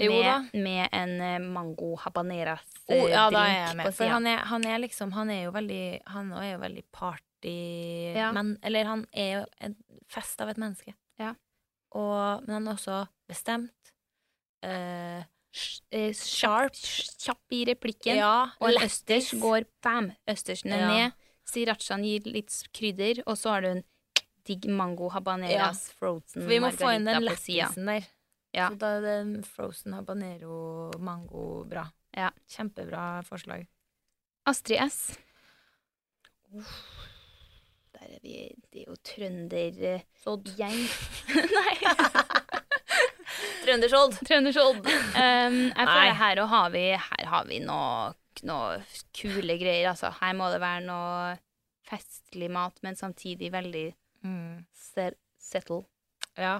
Speaker 2: Jo
Speaker 4: med,
Speaker 2: da.
Speaker 4: Med en eh, mango habaneras eh,
Speaker 2: Oh, ja, da er
Speaker 4: drink
Speaker 2: jeg
Speaker 4: på
Speaker 2: med. For
Speaker 4: sida.
Speaker 2: han er, han er liksom Han er jo veldig Han også er jo veldig party
Speaker 4: Ja.
Speaker 2: men, Eller han er jo en fest av et menneske.
Speaker 4: Ja.
Speaker 2: Og, men han er også bestemt. eh,
Speaker 4: Sj- eh, Sharp, kjapp i replikken.
Speaker 2: ja,
Speaker 4: Og en
Speaker 2: lættis.
Speaker 4: østers går bam! Østersen er
Speaker 2: Ja.
Speaker 4: ned. Sirachaen gir litt krydder, og så har du en digg mango habaneras
Speaker 3: Mm,
Speaker 4: frozen
Speaker 2: For vi må få inn den
Speaker 4: margarita på sida.
Speaker 2: lettisen der.
Speaker 4: Ja.
Speaker 2: Så da er det frozen habanero mango bra.
Speaker 4: Ja.
Speaker 2: Kjempebra forslag.
Speaker 4: Astrid S. Der er vi Det er jo trøndergjeng.
Speaker 3: Trønderskjold.
Speaker 4: Trøndersodd. Um, jeg
Speaker 3: Nei.
Speaker 4: føler her, og har vi, her har vi noe, noe kule greier, altså. Her må det være noe festlig mat, men samtidig veldig ser settle.
Speaker 2: Mm. Ja.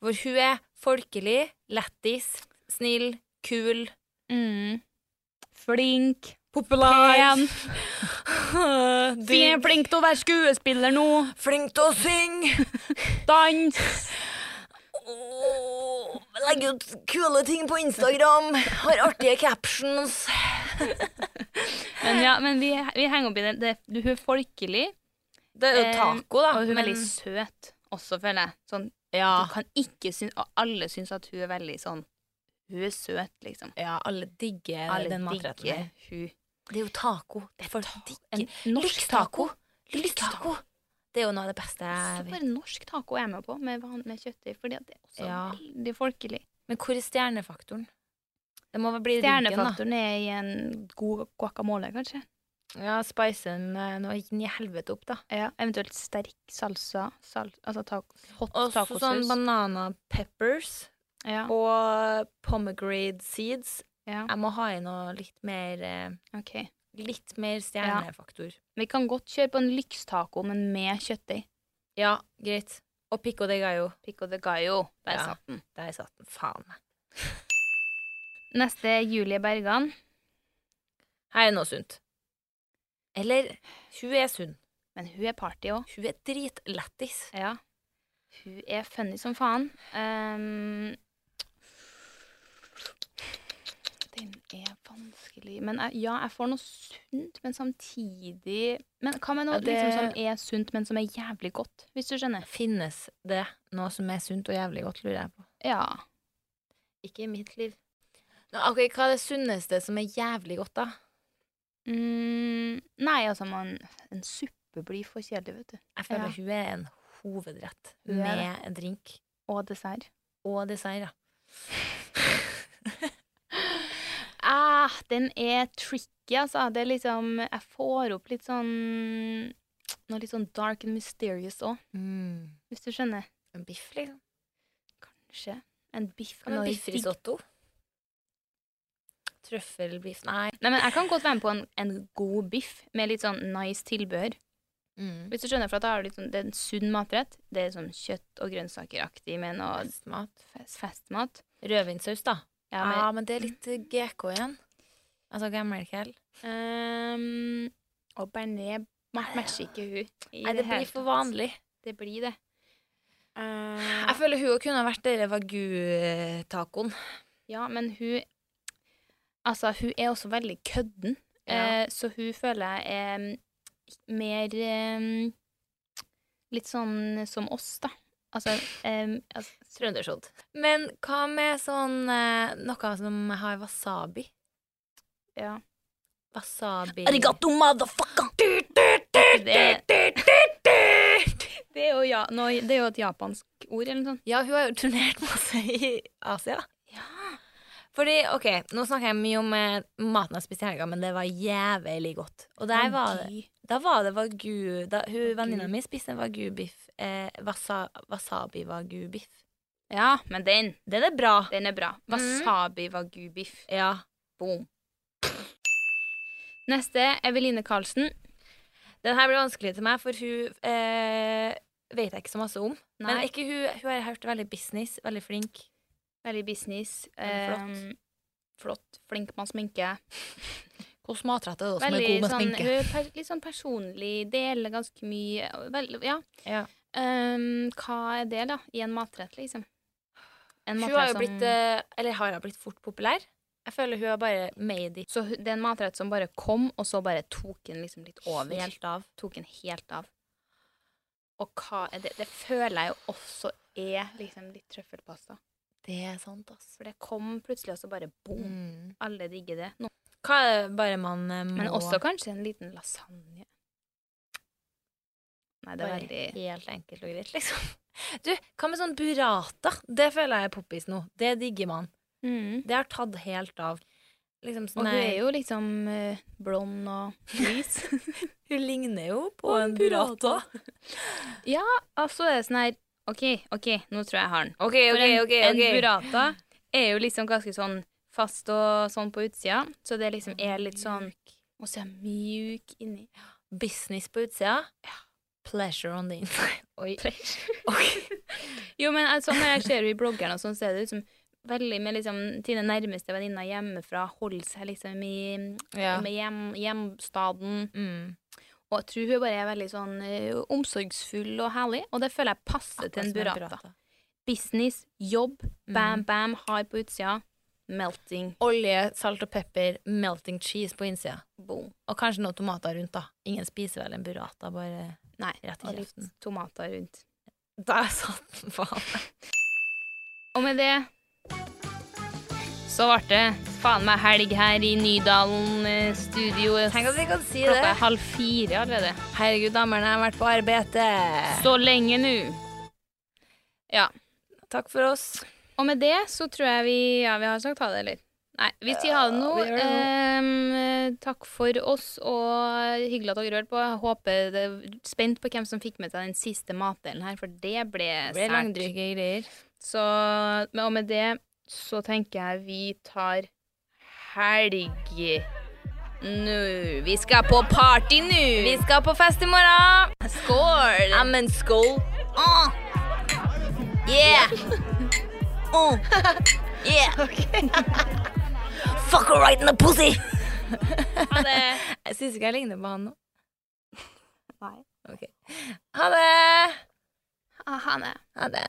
Speaker 2: Hvor hun er folkelig, lættis, snill, kul,
Speaker 4: Mm. Flink.
Speaker 2: populær.
Speaker 4: Fin, flink til å være skuespiller nå.
Speaker 3: Flink til å synge.
Speaker 4: Dans.
Speaker 3: Oh, legger ut kule ting på Instagram. Har artige captions.
Speaker 4: Men ja, men vi, vi henger opp i det. det. Du, hun er folkelig.
Speaker 2: Det er jo
Speaker 4: eh,
Speaker 2: taco, da.
Speaker 4: Og hun er
Speaker 2: men-
Speaker 4: veldig søt også, føler jeg. Sånn,
Speaker 2: ja,
Speaker 4: Du kan ikke synes, og alle syns at hun er veldig sånn Hun er søt, liksom.
Speaker 2: ja, alle digger
Speaker 4: Alle
Speaker 2: den matretten.
Speaker 4: digger
Speaker 2: der.
Speaker 4: hun.
Speaker 3: Det er jo taco. Det er for
Speaker 4: En
Speaker 3: digg.
Speaker 4: norsk taco.
Speaker 3: Lykstaco. Lykstaco. Det er jo noe av det beste
Speaker 4: Så
Speaker 3: jeg vet.
Speaker 4: bare norsk taco er jeg med på, med vanlig kjøttdeig, fordi at det er også
Speaker 2: Ja.
Speaker 4: veldig folkelig.
Speaker 2: Men hvor er stjernefaktoren? Det må vel bli ryggen,
Speaker 4: Stjernefaktoren er i en god guacamole, kanskje.
Speaker 2: da. Ja, spice den eh, noe inn i helvete opp, da.
Speaker 4: Ja, Eventuelt sterk salsa, sal altså ta hot
Speaker 2: Også
Speaker 4: tacosaus.
Speaker 2: sånn banana peppers
Speaker 4: ja,
Speaker 2: og pomegranate seeds.
Speaker 4: ja,
Speaker 2: Jeg må ha i noe litt mer eh,
Speaker 4: ok.
Speaker 2: Litt mer stjernefaktor.
Speaker 4: Vi kan godt kjøre på en lykstaco, men med kjøttdeig.
Speaker 2: Ja, greit. Og pico de gallo.
Speaker 4: Pico de gallo. sånn. Der
Speaker 2: Ja.
Speaker 4: satt den.
Speaker 2: Der satt den. Faen.
Speaker 4: Neste er Julie Bergan.
Speaker 2: Her er noe sunt. Eller Hun er sunn.
Speaker 4: Men hun er party òg.
Speaker 2: Hun er dritlættis.
Speaker 4: Ja. Hun er funny som faen. Ehm, den er vanskelig Men jeg, ja, jeg får noe sunt, men samtidig Men hva med
Speaker 2: Ja,
Speaker 4: noe
Speaker 2: det-
Speaker 4: liksom, som er sunt, men som er jævlig godt? Hvis du skjønner?
Speaker 2: Finnes det noe som er sunt og jævlig godt, lurer jeg på.
Speaker 4: Ja.
Speaker 2: Ikke i mitt liv. Nå, ok, Hva er det sunneste som er jævlig godt, da?
Speaker 4: Mm, nei, altså, man En suppe blir for kjedelig, vet du.
Speaker 2: Jeg føler
Speaker 4: Ja.
Speaker 2: hun er en hovedrett
Speaker 4: Hun er
Speaker 2: med en drink
Speaker 4: Og dessert.
Speaker 2: og dessert. Ja.
Speaker 4: Ah, den er tricky, altså. Det er liksom Jeg får opp litt sånn Noe litt sånn dark and mysterious òg, hvis du skjønner.
Speaker 2: En biff, liksom.
Speaker 4: Kanskje. En biff.
Speaker 2: Hva med
Speaker 4: noe digg.
Speaker 2: biffrisotto? Trøffelbiff Nei.
Speaker 4: Nei, men jeg kan godt være med på en, en god biff med litt sånn nice tilbehør.
Speaker 2: Mm.
Speaker 4: Hvis du skjønner, for at da har du litt sånn, det er en sunn matrett. Det er sånn kjøtt- og grønnsakeraktig med noe
Speaker 2: Festmat.
Speaker 4: fest- festmat.
Speaker 2: Rødvinsaus, da.
Speaker 4: Ja, men,
Speaker 2: men det er litt eh, GK igjen. Altså gammelkjell.
Speaker 4: Ehm, og bearnés matcher ikke hun. i
Speaker 2: Nei, det
Speaker 4: hele
Speaker 2: blir for
Speaker 4: tatt.
Speaker 2: vanlig.
Speaker 4: Det blir det.
Speaker 2: Jeg føler hun også kunne vært dere vagu-tacoen.
Speaker 4: Ja, men hun Altså, hun er også veldig kødden,
Speaker 2: Ja.
Speaker 4: eh, så hun føler jeg er mm, mer eh, Litt sånn som oss, da. Altså, eh, altså
Speaker 2: Trøndersodd. Men hva med sånn eh, noe som har wasabi?
Speaker 4: Ja.
Speaker 2: Wasabi
Speaker 3: Arigato, motherfucker!
Speaker 4: Det, det, er jo ja, nå, det er jo et japansk ord, eller noe sånt.
Speaker 2: Ja, hun har jo turnert masse i Asia. Fordi, ok, nå snakker jeg mye om eh, maten jeg spiste i helga, men det var jævlig godt. Og der var det, da var det vagu da, hun, Venninna mi spiste en vagu-biff. Eh, wasa, Wasabi-vagu-biff.
Speaker 4: Ja, men den,
Speaker 2: Den er bra. Mm.
Speaker 4: den er bra. Wasabi wagu-biff.
Speaker 2: Ja.
Speaker 4: Boom. Neste, Eveline Karlsen.
Speaker 2: Den her ble vanskelig til meg, for hun eh, vet jeg ikke så masse om. Men
Speaker 4: Nei.
Speaker 2: ikke hun, hun har hørt veldig business, veldig flink.
Speaker 4: Veldig business.
Speaker 2: Veldig flott.
Speaker 4: Eh, flott. Flink med å sminke.
Speaker 2: Hun smatrette er det også som er
Speaker 4: Veldig
Speaker 2: god med
Speaker 4: sånn,
Speaker 2: sminke.
Speaker 4: hun er per, litt sånn personlig, deler ganske mye. og Veldig, ja.
Speaker 2: Ja.
Speaker 4: Ehm, hva er det, da? I en matrett, liksom? En
Speaker 2: Hun har jo blitt eh, Eller har hun blitt fort populær? Jeg føler hun har bare made it.
Speaker 4: Så hun- det er en matrett som bare kom, og så bare tok den liksom litt over.
Speaker 2: Helt av.
Speaker 4: Tok den helt av. Og hva er det? Det føler jeg jo også er liksom litt trøffelpasta.
Speaker 2: Det er sant, altså.
Speaker 4: For det kom plutselig, og så bare boom.
Speaker 2: Mm.
Speaker 4: Alle digger det. Nå.
Speaker 2: Hva er det bare man eh, må
Speaker 4: Men også kanskje en liten lasagne. Nei, det er
Speaker 2: Bare
Speaker 4: veldig
Speaker 2: Helt enkelt og greit, liksom. Du, hva med sånn burrata? Det føler jeg er poppis nå. Det digger man.
Speaker 4: mm.
Speaker 2: Det har tatt helt av. Liksom
Speaker 4: Og
Speaker 2: sånn
Speaker 4: hun
Speaker 2: her-
Speaker 4: er jo liksom eh, blond og lys.
Speaker 2: Hun ligner jo på
Speaker 4: Og en
Speaker 2: en burrata.
Speaker 4: ja, altså er det sånn her OK, OK, nå tror jeg jeg har den.
Speaker 3: OK,
Speaker 4: For
Speaker 3: OK,
Speaker 4: en,
Speaker 3: OK.
Speaker 4: en
Speaker 3: ok.
Speaker 4: burrata er jo liksom ganske sånn fast og sånn på utsida, så det liksom er litt sånn Og så er den mjuk inni.
Speaker 2: Business på utsida. Pleasure on the inside. Oi.
Speaker 4: Jo, men altså, når jeg ser henne i bloggeren, og sånn, ser det ut som veldig med liksom sine nærmeste venninner hjemmefra holder seg liksom i
Speaker 2: Ja.
Speaker 4: med hjem, hjemstaden.
Speaker 2: Mm.
Speaker 4: Og jeg tror hun bare er veldig sånn eh, omsorgsfull og herlig, og det føler jeg passer til en burrata. Mm. Business, jobb, bam, bam, hard på utsida. Melting,
Speaker 2: Olje, salt og pepper, melting cheese på innsida.
Speaker 4: boom.
Speaker 2: Og kanskje noen tomater rundt, da. Ingen spiser vel en burrata, bare
Speaker 4: Nei,
Speaker 2: Rett i
Speaker 4: og litt
Speaker 2: kjeften.
Speaker 4: tomater rundt.
Speaker 2: Der satt den, faen.
Speaker 4: Og med det så ble det faen meg helg her i Nydalen eh, studio.
Speaker 3: Tenk at vi kan si
Speaker 4: Klokka
Speaker 3: det.
Speaker 4: er halv fire allerede.
Speaker 3: Herregud, damerne, jeg har vært på arbeidet.
Speaker 4: Så lenge nå. Ja.
Speaker 3: Takk for oss.
Speaker 4: Og med det så tror jeg vi Ja, vi har sagt ha det, eller? Nei, vi sier ha det nå.
Speaker 3: vi gjør det
Speaker 4: Ehm, takk for oss, og hyggelig at dere hørte på. Jeg håper det Spent på hvem som fikk med seg den siste matdelen her, for det ble,
Speaker 2: Det er
Speaker 4: sært.
Speaker 2: langdryge greier.
Speaker 4: Så, men- og med det så tenker jeg vi tar helg nå. Vi skal på party nå!
Speaker 3: Vi skal på fest i morgen.
Speaker 4: Skål!
Speaker 3: Amen, skål. Åh. Yeah. Åh. Yeah. Fuck her right in the pussy.
Speaker 2: Ha det. Jeg syns ikke jeg ligner på han nå.
Speaker 4: Nei.
Speaker 2: Ok. Ha det!
Speaker 4: Ah, han er
Speaker 2: Ha det.